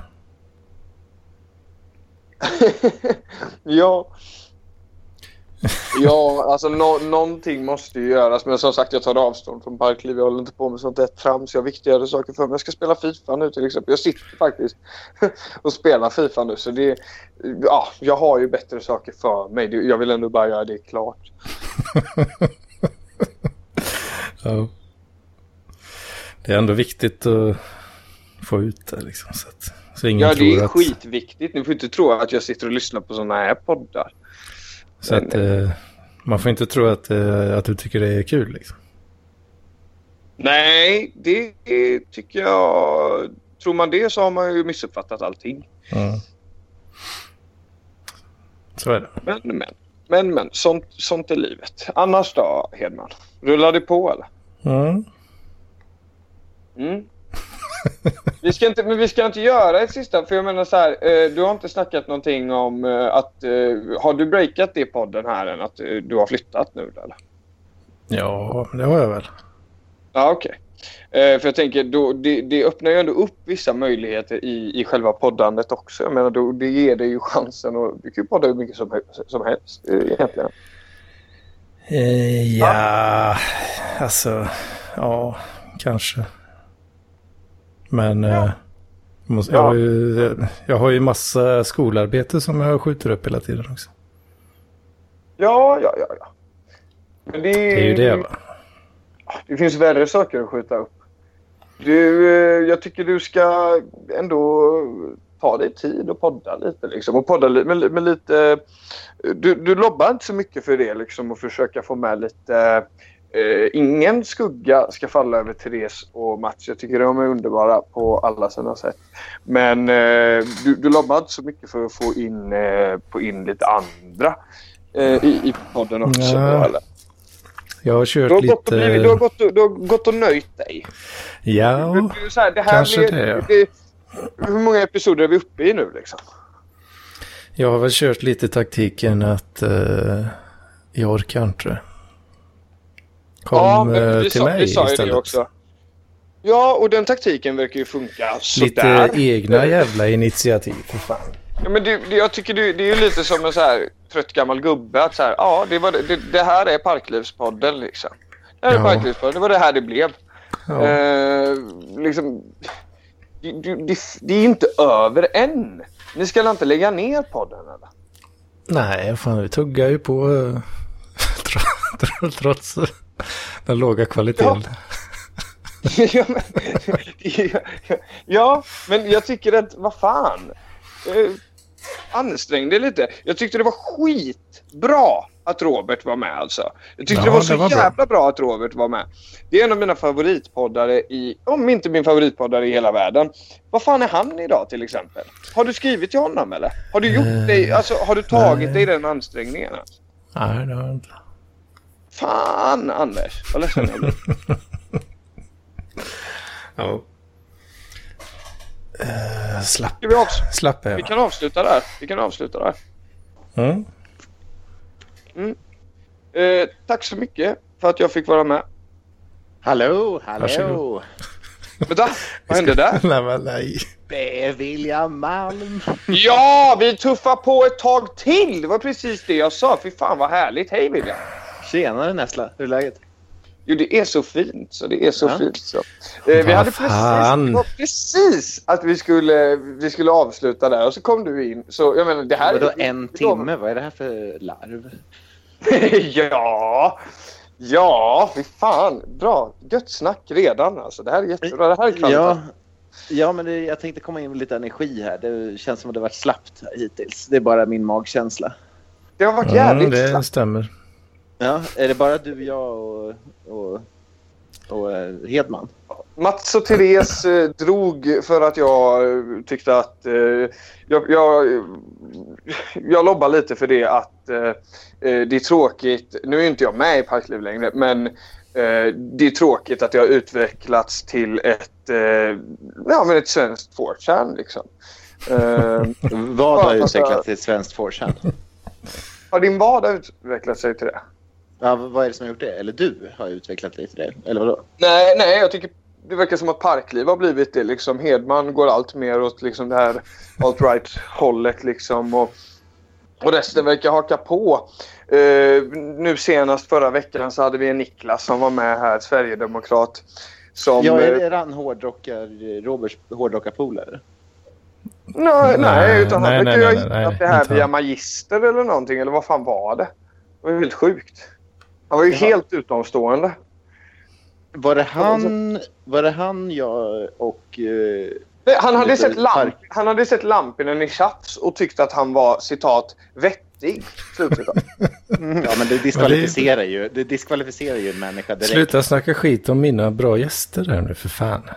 S6: Ja. Ja, alltså nå- någonting måste ju göras. Men som sagt, jag tar avstånd från parkliv. Jag håller inte på med sånt där trams. Jag har viktigare saker för mig. Jag ska spela Fifa nu till exempel. Jag sitter faktiskt och spelar Fifa nu. Så det, ja, jag har ju bättre saker för mig. Det- Jag vill ändå bara göra det klart.
S1: Ja. Det är ändå viktigt att få ut det liksom. Så, att, så ingen
S6: Ja, det
S1: tror
S6: är
S1: att,
S6: skitviktigt. Ni får inte tro att jag sitter och lyssnar på såna här poddar.
S1: så att eh, man får inte tro att, eh, att du tycker det är kul liksom.
S6: Nej, det tycker jag... Tror man det så har man ju missuppfattat allting.
S1: Mm. Så är det.
S6: Men, men. Men, men. Sånt, sånt är livet. Annars då, Hedman? Rullar det på eller?
S1: Mm.
S6: Mm. Vi ska inte, men vi ska inte göra ett sista, för jag menar så här, eh, du har inte snackat någonting om eh, att, eh, har du breakat det i podden här än att eh, du har flyttat nu eller?
S1: Ja, det har jag väl.
S6: Ja, okej. Eh, för jag tänker, då, det, det öppnar ju ändå upp vissa möjligheter i, i själva poddandet också. Jag menar, då, det ger dig ju chansen och du kan ju podda hur mycket som, hel- som helst eh, egentligen.
S1: Eh, ja, alltså, ja, kanske. Men eh, måste, jag,
S6: Ja.
S1: har ju, jag har ju massa skolarbete som jag skjuter upp hela tiden också.
S6: Ja, ja, ja. ja. Men
S1: Det är ju det va?
S6: Det finns värre saker att skjuta upp. Du, eh, jag tycker du ska ändå ta dig tid och podda lite. Liksom. Och podda li- med, med lite eh, du, du lobbar inte så mycket för det liksom, och försöka få med lite... Eh, ingen skugga ska falla över Therese och Mats. Jag tycker de är underbara på alla sina sätt. Men eh, du, du lobbar inte så mycket för att få in, eh, få in lite andra eh, i, i podden också.
S1: Nej.
S6: då, eller?
S1: Jag har kört
S6: Du har, gått och
S1: lite...
S6: blivit, du, har gått och, du har gått och nöjt dig. Du,
S1: Ja,
S6: du, är så här, det här
S1: kanske
S6: blir,
S1: det, ja.
S6: det- Hur många episoder är vi uppe i nu liksom?
S1: jag har väl kört lite taktiken att eh, jag orkar inte. Kom eh, till mig istället.
S6: Ja, och den taktiken verkar ju funka
S1: Lite
S6: sådär.
S1: egna jävla initiativ för fan.
S6: Ja, men det, det, jag tycker det, det är ju lite som en så här trött gammal gubbe. Att så här, ja, det, var, det- det, det här är Parklivspodden liksom. Det här är
S1: Ja.
S6: Parklivspodden. Det var det här det blev.
S1: Ja.
S6: Eh, liksom, det, det, det- det är inte över än. Ni ska inte lägga ner podden eller?
S1: Nej, fan vi tuggar ju på eh, tr- tr- trots den låga kvaliteten.
S6: ja, men, ja, men jag tycker att, vad fan. eh, ansträngde lite. Jag tyckte det var skitbra att Robert var med alltså. Jag tyckte
S1: Ja,
S6: det var så
S1: det var bra.
S6: jävla bra. att Robert var med. Det är en av mina favoritpoddare i, om inte min favoritpoddare i hela världen. Vad fan är han idag till exempel? Har du skrivit till honom eller? Har du
S1: Eh,
S6: gjort dig, alltså har du tagit
S1: nej.
S6: dig den ansträngningen? Alltså?
S1: Nej, det har jag inte.
S6: Fan Anders, vad ledsen jag blir.
S1: Ja. Eh, slapp,
S6: Ska vi, avs-
S1: slapp
S6: vi
S1: jag.
S6: kan avsluta där. Vi kan avsluta där.
S1: Mm.
S6: Eh, tack så mycket för att jag fick vara med.
S8: Hallå, hallå!
S1: Varsågod.
S6: Vänta, vad hände där?
S1: Nej, men nej.
S8: Det är William Malm.
S6: Ja, vi tuffar på ett tag till! Det var precis det jag sa. Fy fan vad härligt. Hej William!
S8: Tjenare Nessla, hur är läget?
S6: Jo, det är så fint så. Det är så
S8: Ja.
S6: fint så. Eh, vi
S1: Vad
S6: hade precis,
S1: fan.
S6: det var precis att vi skulle, vi skulle avsluta där och så kom du in. Så jag menar, det här...
S8: Vadå
S6: är-
S8: en timme? Vad är det här för larv?
S6: ja! Ja, fy fan. Bra. Gött snack redan alltså. Det här är jättebra. Det här är kvalitet.
S8: Ja, ja men det, jag tänkte komma in med lite energi här. Det känns som att det varit slappt hittills. Det är bara min magkänsla.
S6: Det har varit jävligt
S1: Mm, det
S6: snabbt.
S1: stämmer.
S8: Ja, är det bara du, jag och, och, och eh, Hedman?
S6: Mats och Therese eh, drog för att jag eh, tyckte att... Eh, jag, jag, jag lobbar lite för det att eh, eh, det är tråkigt. Nu är inte jag med i Parkliv längre, men eh, det är tråkigt att det har utvecklats till ett, eh, ja, men ett svenskt 4 liksom. Eh,
S8: Vad har
S6: Ja,
S8: utvecklats
S6: alltså-
S8: till svenskt forsen?
S6: har din vardag utvecklat sig till det?
S8: Ja, vad är det som har gjort det? Eller du har utvecklat dig till det? Eller vadå?
S6: Nej, nej, jag tycker det verkar som att Parkliv har blivit det. Liksom. Hedman går allt mer åt liksom, det här alt-right-hållet. Liksom, och, och resten verkar haka på. Eh, nu senast förra veckan så hade vi en Niklas som var med här, Sverigedemokrat. Som,
S8: Ja, är
S6: eh,
S8: det han hårdrockar, Roberts hårdrockarpolare?
S6: nej, nej,
S1: Nej,
S6: utan
S1: nej,
S6: han verkar
S1: nej,
S6: ju ha
S1: nej, nej,
S6: hittat det här
S1: inte
S6: via
S1: han.
S6: Magister eller någonting. Eller vad fan var det? Det var ju helt sjukt. Han var ju
S8: Jaha.
S6: helt utomstående.
S8: Var det han, Alltså, var det han jag och... eh,
S6: Nej, han, hade
S8: Lite
S6: sett lamp,
S8: park.
S6: han hade sett Lampinen i Chaps och tyckte att han var citat vettig. Slutcitat.
S8: Mm. ja, men det diskvalificerar ju, det diskvalificerar ju en människa direkt.
S1: Sluta snacka skit om mina bra gäster här nu för fan.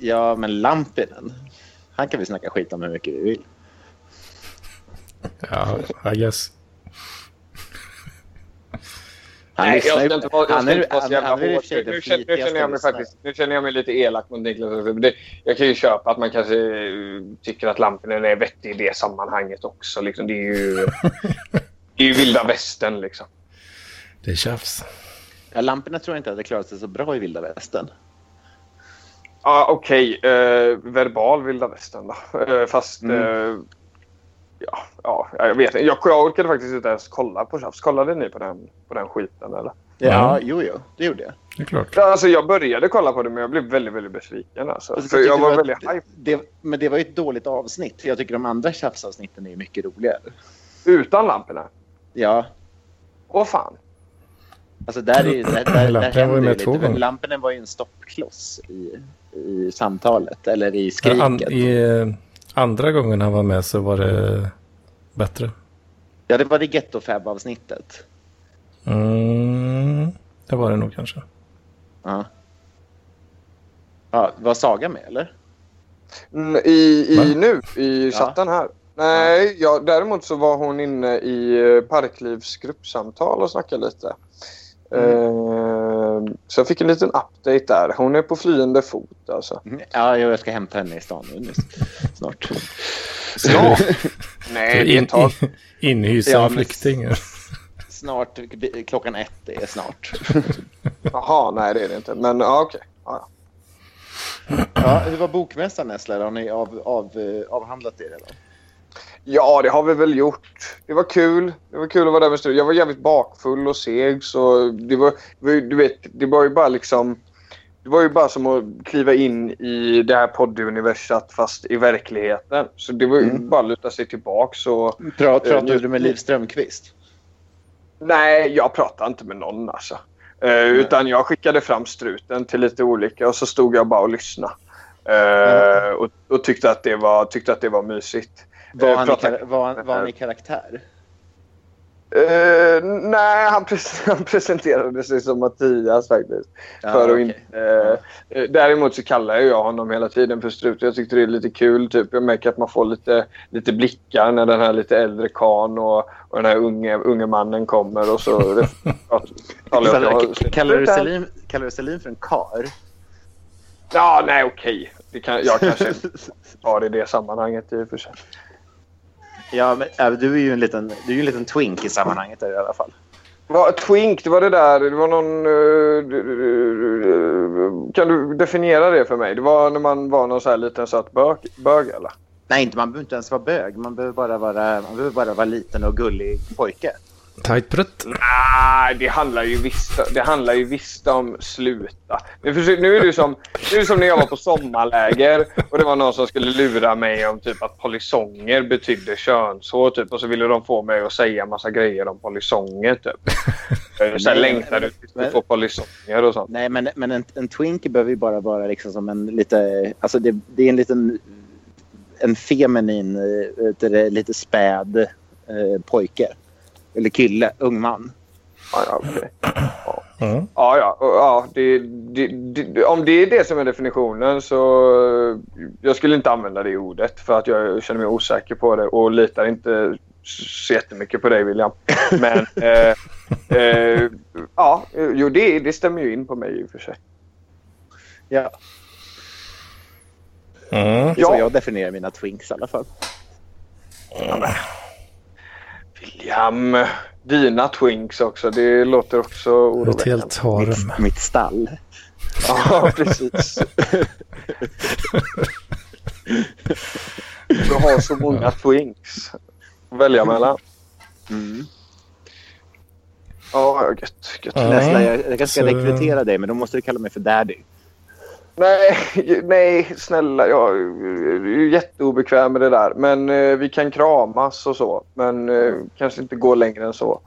S8: Ja, men Lampinen. Han kan vi snacka skit om hur mycket vi vill.
S1: Ja, I guess.
S8: Han
S6: Nej,
S8: lyssnar
S6: jag
S8: ju-
S6: ska inte vara jag
S8: han
S6: ska
S8: är-
S6: inte vara så
S8: han-
S6: jävla
S8: han är i och
S6: hård.
S8: för sig
S6: Nu
S8: den
S6: nu känner nu känner jag mig
S8: flitigaste
S6: faktiskt- nu känner jag mig lite elak mot Niklas. men Det, jag kan ju köpa att man kanske eh, tycker att Lampinen är vettig i det sammanhanget också. Liksom, det är ju... Det är ju vilda västern liksom.
S1: Det är tjafs.
S8: Ja, Lampinen tror jag inte hade klarat sig så bra i vilda västern.
S6: Ja, okej. eh, verbal vilda västern då. Eh, fast...
S8: Mm.
S6: eh, ja, ja, jag vet inte. Jag, jag orkade faktiskt inte ens kolla på Tjafs. Kollade ni på den, på den skiten eller?
S8: Ja,
S1: Ja.
S8: jo, jo, det gjorde jag.
S1: Det är klart.
S6: Ja, Alltså jag började kolla på det men jag blev väldigt, väldigt besviken. Alltså.
S8: Alltså,
S6: För
S8: tyckte
S6: jag
S8: du
S6: var
S8: att
S6: väldigt
S8: det-
S6: hype.
S8: det, Men det var ju ett dåligt avsnitt. Jag tycker de andra tjafsavsnitten är ju mycket roligare.
S6: Utan lamporna.
S8: Ja,
S6: Åh fan.
S8: Alltså där är, där, där, där
S1: Lampinen var ju
S8: händer
S1: med
S8: ju
S1: två
S8: lite.
S1: gånger.
S8: Men Lampinen var ju en stoppkloss i, i samtalet, eller i skriket.
S1: Ja, an, i, eh, andra gången han var med så var det bättre.
S8: Ja, det var det gettofab-avsnittet.
S1: Mm, det var det nog kanske.
S8: Ja. Ja, var Saga med, eller?
S6: Mm, I i
S1: Va?
S6: nu, i
S8: Ja.
S6: chatten här. Nej, ja, däremot så var hon inne i eh, Parklivs gruppsamtal och snackade lite.
S8: Mm.
S6: Eh, så jag fick en liten update där. Hon är på flyende fot alltså.
S8: Ja, jo, jag ska hämta henne i stan nu, nu snart.
S6: Ja. Nej, det är
S1: In,
S6: ett tag.
S1: in, inhysa
S8: Ja,
S1: en
S8: men-
S1: flykting.
S8: Snart, klockan ett är snart.
S6: Jaha, nej det är det inte. Men ja, okej. Ja, ja.
S8: Ja, hur var bokmässan, Nessla? Har ni av, av, eh, avhandlat det redan?
S6: Ja, det har vi väl gjort. Det var kul. Det var kul att vara där med studion. Jag var jävligt bakfull och seg. Så det var, det var ju- du vet, det var ju bara liksom... Det var ju bara som att kliva in i det här podduniversat fast i verkligheten. Så det var ju
S8: Mm.
S6: bara att luta sig tillbaks och...
S8: Pra, pratade
S6: Eh, nu-
S8: du med Liv Strömquist?
S6: Nej, jag pratade inte med någon alltså. Eh, utan jag skickade fram struten till lite olika och så stod jag bara och lyssnade. Eh, och, och tyckte, att det var, tyckte att det var mysigt.
S8: Var han, i,
S6: pratar-
S8: kar- var, han- var han i karaktär?
S6: Eh, nej, han, pres- han presenterade sig som Mattias faktiskt.
S8: Ja,
S6: för att
S8: Ah, okej.
S6: inte, eh, eh, däremot så kallar jag honom hela tiden för Strut. Jag tyckte det är lite kul. Typ. Jag märker att man får lite, lite blickar när den här lite äldre kan och, och den här unge, unge mannen kommer. Och så talar jag
S8: Kallar-
S6: om-
S8: Kallar du Selin- kallar du Selin för en kar?
S6: Ja, nej okej. Det kan, jag kanske tar det i det sammanhanget i och för sig.
S8: Ja, men äh, du är ju en liten, du är ju en liten twink i sammanhanget där, i alla fall.
S6: Va, twink, det var det där. Det var någon... eh, d- d- d- kan du definiera det för mig? Det var när man var någon så här liten söt bög, bög eller?
S8: Nej, inte, man behöver inte ens vara bög. Man behöver bara vara, man behöver bara vara liten och gullig pojke.
S1: Tajt prutt.
S6: Nej, Ah, det handlar ju visst, det handlar ju visst om sluta. Nu, försöker, nu, är det ju som, nu är det som när jag var på sommarläger och det var någon som skulle lura mig om typ att polisonger betydde könshår typ, och så ville de få mig att säga massa grejer om polisonger typ. Så här,
S8: Nej,
S6: längtar du tills du får polisonger och sånt?
S8: Nej, men, men en, en twink behöver ju bara vara liksom som en lite... Alltså det, det är en liten... En feminin, eh, vet du det, lite späd eh, pojke. Eller kille, ung man.
S6: Ja, ja, okej.
S1: Mm.
S6: Ja, ja. och- ja det, det, det, om det är det som är definitionen så... eh, Jag skulle inte använda det ordet för att jag känner mig osäker på det och litar inte så jättemycket på dig, William. Men... eh, eh, ja, jo, det, det stämmer ju in på mig i och för sig.
S8: Ja,
S1: Mm.
S8: ja.
S6: Ja.
S8: Så jag definierar mina twinks i alla fall.
S6: William, dina twinks också. Det låter också
S1: Ett
S6: oroväckande.
S1: helt harem.
S8: Mitt stall.
S6: Ja, precis. Du har så många twinks att välja mellan.
S8: Mm.
S6: Ja, gött. gött.
S1: Ja.
S8: Nästa, jag, jag kanske ska
S1: så-
S8: rekrytera dig, men då måste du kalla mig för daddy.
S6: Nej, nej, snälla. Jag är ju jätteobekväm med det där. Men eh, vi kan kramas och så. Men eh, kanske inte gå längre än så.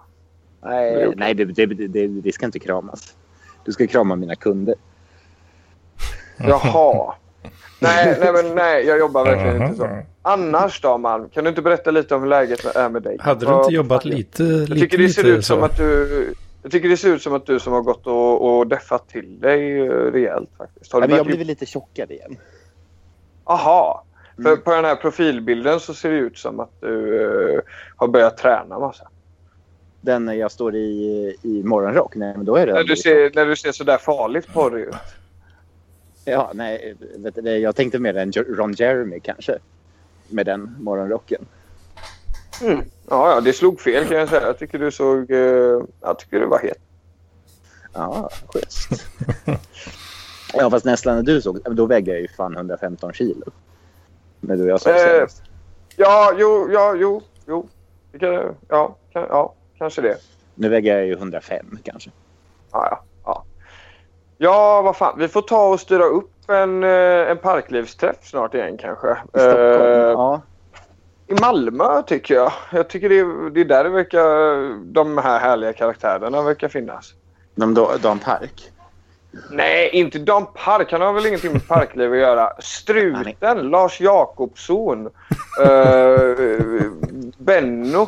S8: Nej,
S6: Jo.
S8: nej det, det, det, det ska inte kramas. Du ska krama mina kunder.
S6: Jaha. Nej, nej, men nej. Jag jobbar verkligen inte så. Annars då, man? Kan du inte berätta lite om hur läget är med dig?
S1: Hade du inte
S6: Vad-
S1: jobbat lite, lite,
S6: Jag tycker det ser
S1: lite
S6: ut som
S1: så?
S6: att du... Jag tycker det ser ut som att du som har gått och, och deffat till dig eh, rejält faktiskt. Har du
S8: Nej, men jag
S6: börjat-
S8: blir lite tjockare igen.
S6: Aha! För
S1: Mm.
S6: på den här profilbilden så ser det ut som att du eh, har börjat träna massa.
S8: Den när jag står i, i morgonrock, nej men då är det...
S6: När du ser, när du ser sådär farligt på dig ut.
S8: Ja, nej, vet du, det- jag tänkte mer än Jer- Ron Jeremy kanske. Med den morgonrocken.
S6: Ja, ja, det slog fel kan jag säga. Jag tycker du såg... Eh, jag tycker du var het.
S8: Ja, schysst. ja, fast nästan när du såg, då vägde jag ju fan 115 kilo. När du och jag såg
S6: Eh,
S8: senast.
S6: Ja, jo, ja, jo, jo. Det kan, ja, kan, ja, kanske det.
S8: Nu väger jag ju 105 kanske.
S6: Ja, ja, ja. Ja, vad fan. Vi får ta och styra upp en, eh, en parklivsträff snart igen kanske.
S8: I Stockholm.
S6: Eh,
S8: ja.
S6: I Malmö tycker jag. Jag tycker det är, det är där det verkar, de här härliga karaktärerna verkar finnas.
S8: De, då, Dan Park.
S6: Nej, inte Dan Park. Han har väl ingenting med parkliv att göra. Struten, Lars Jakobsson, eh, Benno.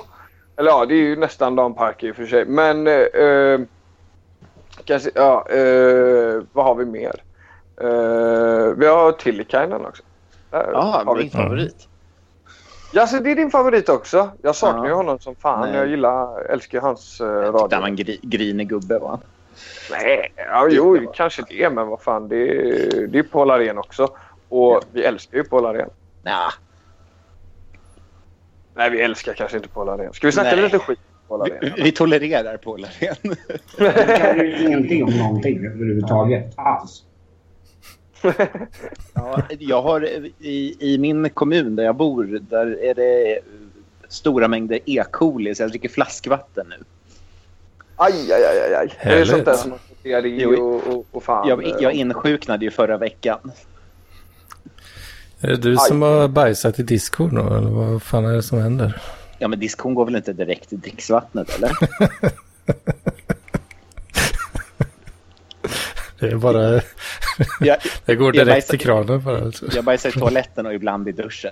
S6: Eller ja, det är ju nästan Dan Park i och för sig. Men eh, kanske, ja, eh, vad har vi mer? Eh, vi har Tillikainen också. Där
S8: Ja,
S6: har vi-
S8: min favorit.
S6: Ja, så det är din favorit också. Jag saknar
S8: Ja.
S6: ju honom som fan.
S8: Nej.
S6: Jag gillar, älskar ju hans uh,
S8: Jag tyckte
S6: radio.
S8: han var en gri, grinig gubbe. Va?
S6: Nej, ja, jo, kanske det. Men vad fan, det är, det är Paul Arén också. Och vi älskar ju Paul Arén.
S8: Nja,
S6: Nej, vi älskar kanske inte Paul Arén. Ska vi snacka
S8: Nej.
S6: lite skit om Paul Arén?
S8: vi, vi tolererar Paul Arén.
S9: Jag kan ju ingenting om någonting överhuvudtaget. Alls.
S8: Ja, jag har i, i min kommun där jag bor, där är det stora mängder E-coli, så jag dricker flaskvatten nu.
S6: Aj, aj, aj, aj, aj. Det är
S1: Härligt.
S6: sånt där som man får diarré
S8: Jo,
S6: och, och, och fan.
S8: Jag, jag insjuknade ju förra veckan.
S1: Är det du
S6: Aj.
S1: som har bajsat i disco då? Eller vad fan är det som händer?
S8: Ja, men diskon går väl inte direkt i dricksvattnet, eller?
S1: Det är bara...
S8: Jag,
S1: Det går
S8: Jag
S1: direkt
S8: bajsar-
S1: till kranen bara. Alltså.
S8: jag bajsar i toaletten och ibland i duschen.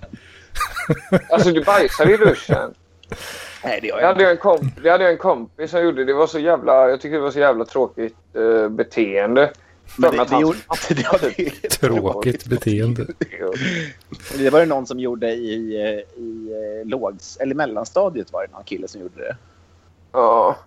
S6: Alltså du bajsade i duschen.
S8: Nej, det gör
S6: Jag hade ju en, komp- jag hade ju en kompis som gjorde det. det. Var så jävla, jag tyckte det var så jävla tråkigt eh, beteende.
S8: Men
S6: För
S8: det,
S6: att
S8: det,
S6: han-
S8: gjorde, det, hade ju-
S1: Tråkigt beteende.
S8: det var det någon som gjorde i, eh, i eh, lågs... Eller mellanstadiet var det någon kille som gjorde det.
S6: Ja.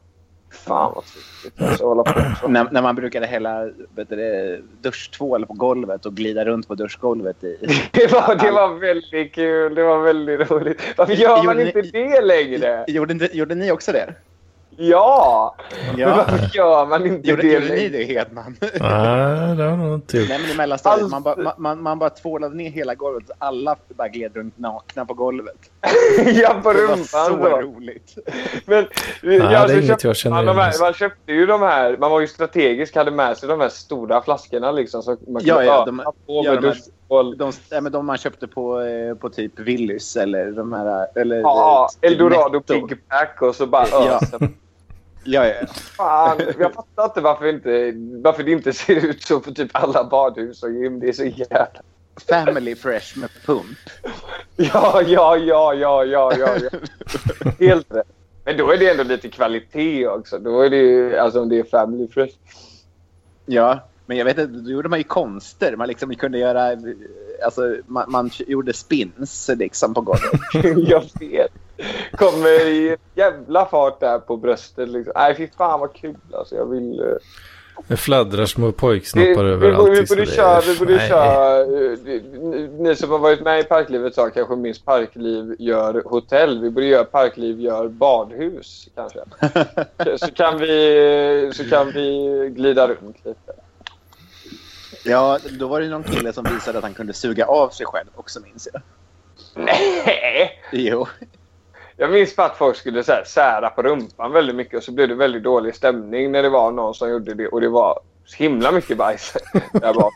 S6: Fan vad tråkigt. Alltså, hålla på så.
S8: När, när man brukade hälla vet du, det, duschtvål på golvet och glida runt på duschgolvet. I.
S6: Det var, det var väldigt kul. Det var väldigt roligt. Varför gör man
S8: Gjorde
S6: inte
S8: ni-
S6: det längre?
S8: Gjorde, ni- gjorde ni också det?
S6: Ja! Men
S8: Ja.
S6: varför gör man inte
S8: Gjorde,
S6: det
S8: gjorde ni
S6: längre?
S8: det, Hedman?
S1: Nej, det har jag nog inte gjort.
S8: Nej, men i mellanstadiet.
S6: Allt-
S8: Man bara, man- man, man bara tvålade ner hela golvet. Alla bara gled runt nakna på golvet.
S6: Ja, på
S8: Det var
S6: rumpan.
S8: så
S6: då.
S8: roligt.
S6: Men,
S1: det är
S6: alltså,
S1: inget
S6: köpte-
S1: jag känner
S6: man, de
S1: igen.
S6: här, man köpte ju de här, man var ju strategisk, hade med sig de här stora flaskorna liksom. Så man kunde
S8: Ja, ja, de-
S6: öppna på
S8: ja,
S6: med
S8: de här- eh,
S6: duschtvål.
S8: De, nej, men de man köpte på, eh, på typ Willys eller de här... Eller,
S6: Ja,
S8: eh,
S6: Eldorado
S8: Netto.
S6: Big Pack och så bara
S8: Ja.
S6: ösen.
S8: Ja, ja.
S6: Fan, jag fattar inte varför, inte varför det inte ser ut så på typ alla badhus och gym. Det är så jävla...
S8: Family Fresh med pump.
S6: Ja, ja, ja, ja, ja, ja. ja. Helt rätt. Men då är det ändå lite kvalitet också. Då är det ju, alltså om det är family fresh.
S8: Ja, men jag vet inte, då gjorde man ju konster. Man liksom kunde göra... Alltså, man, man gjorde spins liksom på golvet.
S6: Jag vet. Kommer i jävla fart där på bröstet. Liksom. Nej, fy fan vad kul. Alltså, jag vill... eh,
S1: Det fladdrar små
S6: Vi,
S1: pojksnoppar
S6: vi,
S1: överallt.
S6: borde- vi
S1: i
S6: borde
S1: Sverige.
S6: köra, vi borde
S1: Nej.
S6: köra. eh, ni- Ni som har varit med i Parklivet sa kanske minst Parkliv gör hotell. Vi borde göra Parkliv gör badhus kanske. Så kan vi, så kan vi glida runt lite.
S8: Ja, då var det någon kille som visade att han kunde suga av sig själv också, minns jag.
S6: Nej!
S8: Jo.
S6: Jag minns bara att folk skulle så här, sära på rumpan väldigt mycket och så blev det väldigt dålig stämning när det var någon som gjorde det och det var så himla mycket bajs där bak.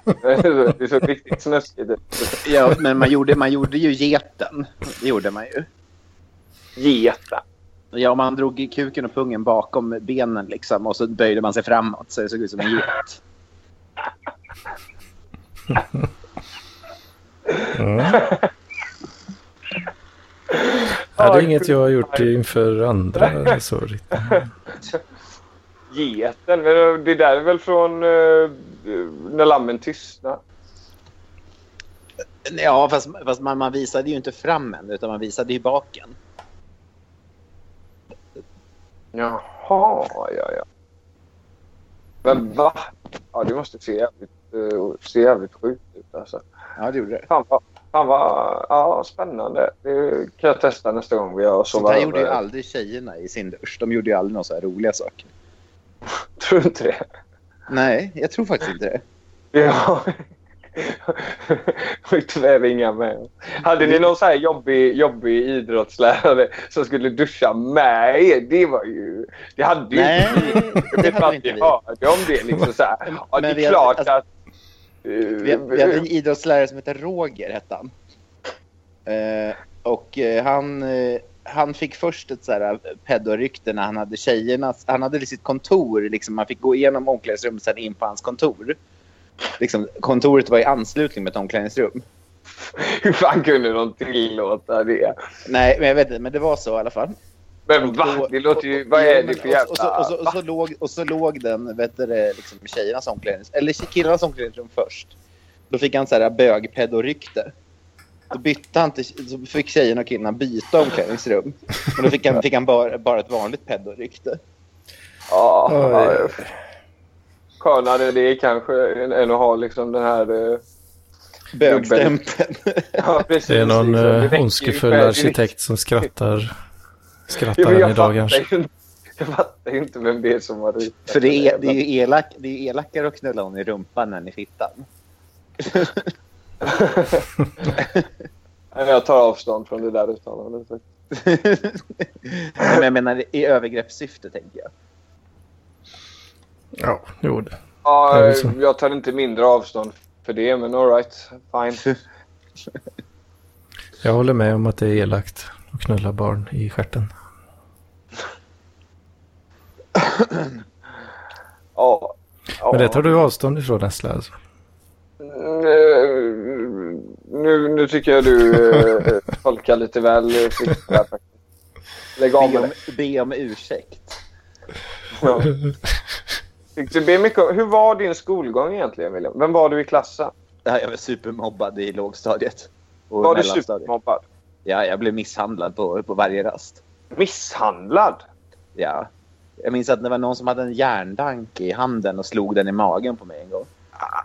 S6: Det såg riktigt snuskigt ut.
S8: Ja, men man gjorde, man gjorde ju geten. Det gjorde man ju.
S6: Geta.
S8: Ja, man drog i kuken och pungen bakom benen liksom och så böjde man sig framåt så det såg ut som en get.
S1: Ja, det är inget jag har gjort inför andra. Så riktigt.
S6: Geten, men det där är väl från eh, När lammen tystnar?
S8: Ja, fast, fast man, man visade ju inte fram än utan man visade ju baken.
S6: Jaha, ja, ja. Men va? Ja, det måste se jävligt, eh, se jävligt sjukt ut alltså.
S8: Ja, det gjorde det.
S6: Fan vad, fan vad ja, spännande. Det kan jag testa nästa gång vi gör och
S8: Sånt
S6: sover
S8: här gjorde ju
S6: över.
S8: aldrig tjejerna i sin dusch. De gjorde ju aldrig några så här roliga saker.
S6: Tror du inte det?
S8: Nej, jag tror faktiskt inte det.
S6: Ja. Och Tyvärr inga med. Hade ni någon så här jobbig, jobbig idrottslärare som skulle duscha med er? Det var ju... Det hade ju
S8: Nej, det
S6: vet
S8: hade
S6: att
S8: inte
S6: vi
S8: vi.
S6: hörde om det. Liksom så här. Ja, det
S8: Men
S6: är
S8: vi hade-
S6: klart
S8: alltså,
S6: att...
S8: Vi, vi hade en idrottslärare som hette Roger, hette han. Eh, och eh, han, eh, han fick först ett så här eh, pedorykte när han hade tjejernas... Han hade sitt kontor, liksom, man fick gå igenom omklädningsrummet sen in på hans kontor. Liksom, kontoret var i anslutning med ett omklädningsrum.
S6: Hur fan kunde de tillåta det?
S8: Nej, men jag vet inte, men det var så i alla fall.
S6: Men va?
S8: Då-
S6: Det låter ju...
S8: och-
S6: Vad
S8: ja,
S6: är det
S8: men-
S6: för
S8: och- Och så, och så,
S6: jävla...
S8: och så, låg, och så låg den vet du, det, liksom, tjejernas omklädningsrum, eller killarnas omklädningsrum först. Då fick han så här bögpedorykte. Då bytte han till, så fick tjejerna och killarna byta omklädningsrum. Men då fick han, fick han bara, bara ett vanligt pedorykte.
S6: Ja,
S1: Oj.
S6: ja. Skönare det kanske än- än att ha liksom den här... eh,
S8: Bögstämpeln.
S6: Ja, precis.
S1: Det är någon
S6: liksom. Det
S1: eh,
S6: väcker ju
S1: ondskefull
S6: själv-
S1: arkitekt som skrattar.
S6: Ja,
S1: Skrattar
S6: men
S1: än
S6: jag
S1: idag
S6: fattar
S1: kanske.
S6: ju inte- Jag fattar ju inte vem det är som har ritat
S8: För det är, det
S6: jävla-
S8: är ju elak, det är ju elakare att knulla hon i rumpan än i fittan.
S6: Nej, men Jag tar avstånd från det där uttalandet.
S8: Men jag menar i övergreppssyfte, tänker jag.
S1: Ja, jo det.
S6: Ja,
S1: Det är väl så.
S6: jag tar inte mindre avstånd för det, men alright. Fine.
S1: Jag håller med om att det är elakt att knulla barn i stjärten.
S6: Ja. ja.
S1: Men det tar du avstånd ifrån Nessla alltså?
S6: Mm, eh, nu, nu tycker jag du eh, tolkar lite väl eh, fritt där faktiskt. Lägg av
S8: Be
S6: med
S8: om,
S6: det.
S8: be om ursäkt.
S6: Ja. Fick du be mycket om, hur var din skolgång egentligen William? Vem var du i klassen?
S8: Ja, Jag var supermobbad i lågstadiet. Och
S6: Var du
S8: mellanstadiet.
S6: supermobbad?
S8: Ja, jag blev misshandlad på, på varje rast.
S6: Misshandlad?
S8: Ja. Jag minns att det var någon som hade en järndank i handen och slog den i magen på mig en gång.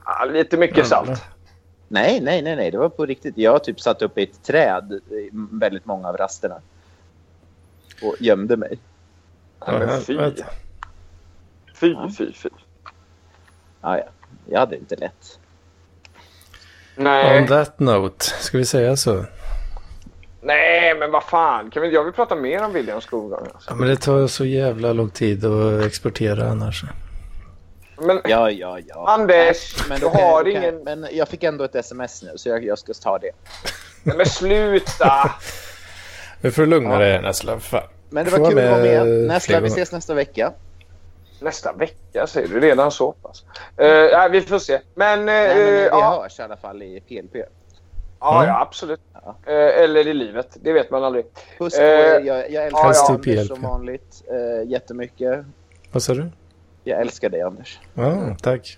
S6: Ah, lite mycket salt.
S8: Nej, nej, nej, nej. Det var på riktigt. Jag typ satt upp i ett träd i väldigt många av rasterna. Och gömde mig.
S6: Ja, men fy.
S1: Helvete.
S6: Fy, fy, fy.
S8: Ja, ja. Jag hade inte lätt.
S1: On
S6: Nej,
S1: that note, ska vi säga så?
S6: nej men vad fan. Kan vi, jag vill prata mer om Williams skolgång. Alltså.
S1: Ja, men det tar så jävla lång tid att exportera annars.
S6: Men
S8: Ja, ja, ja.
S6: Anders,
S8: Men,
S6: du
S8: då kan jag,
S6: har
S8: då kan jag,
S6: ingen...
S8: men jag fick ändå ett sms nu, så jag, jag ska ta det.
S6: Nej, men sluta!
S1: Nu får du lugna dig Nessla, för fan.
S8: Men det
S1: Får
S8: var kul att vara med.
S1: fler
S8: Nästa, vi
S1: gånger.
S8: ses nästa vecka.
S6: Nästa vecka säger du. Redan så pass. Eh, ja, vi får se. Men, eh,
S8: Nej, men vi
S6: ja,
S8: hörs i alla fall i PLP.
S6: ja, ja, absolut. Eh, eller i livet. Det vet man aldrig.
S8: Puss
S6: Eh,
S8: på er. Jag, jag älskar
S6: ja, ja.
S8: Anders
S1: PLP.
S8: som vanligt eh, jättemycket.
S1: Vad sa du?
S8: Jag älskar dig, Anders.
S1: Ja, tack.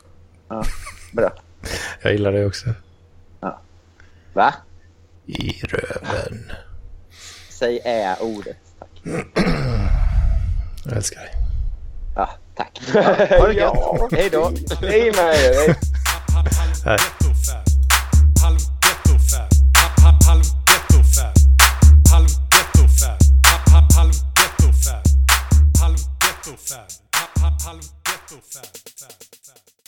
S8: Bra.
S1: Jag gillar dig också.
S8: Va?
S1: I röven.
S8: Säg ä-ordet. Tack.
S1: Jag älskar dig.
S8: Ja, tack. Ha det gött. Hej då.
S6: Hej med er. Hej.
S1: Hej.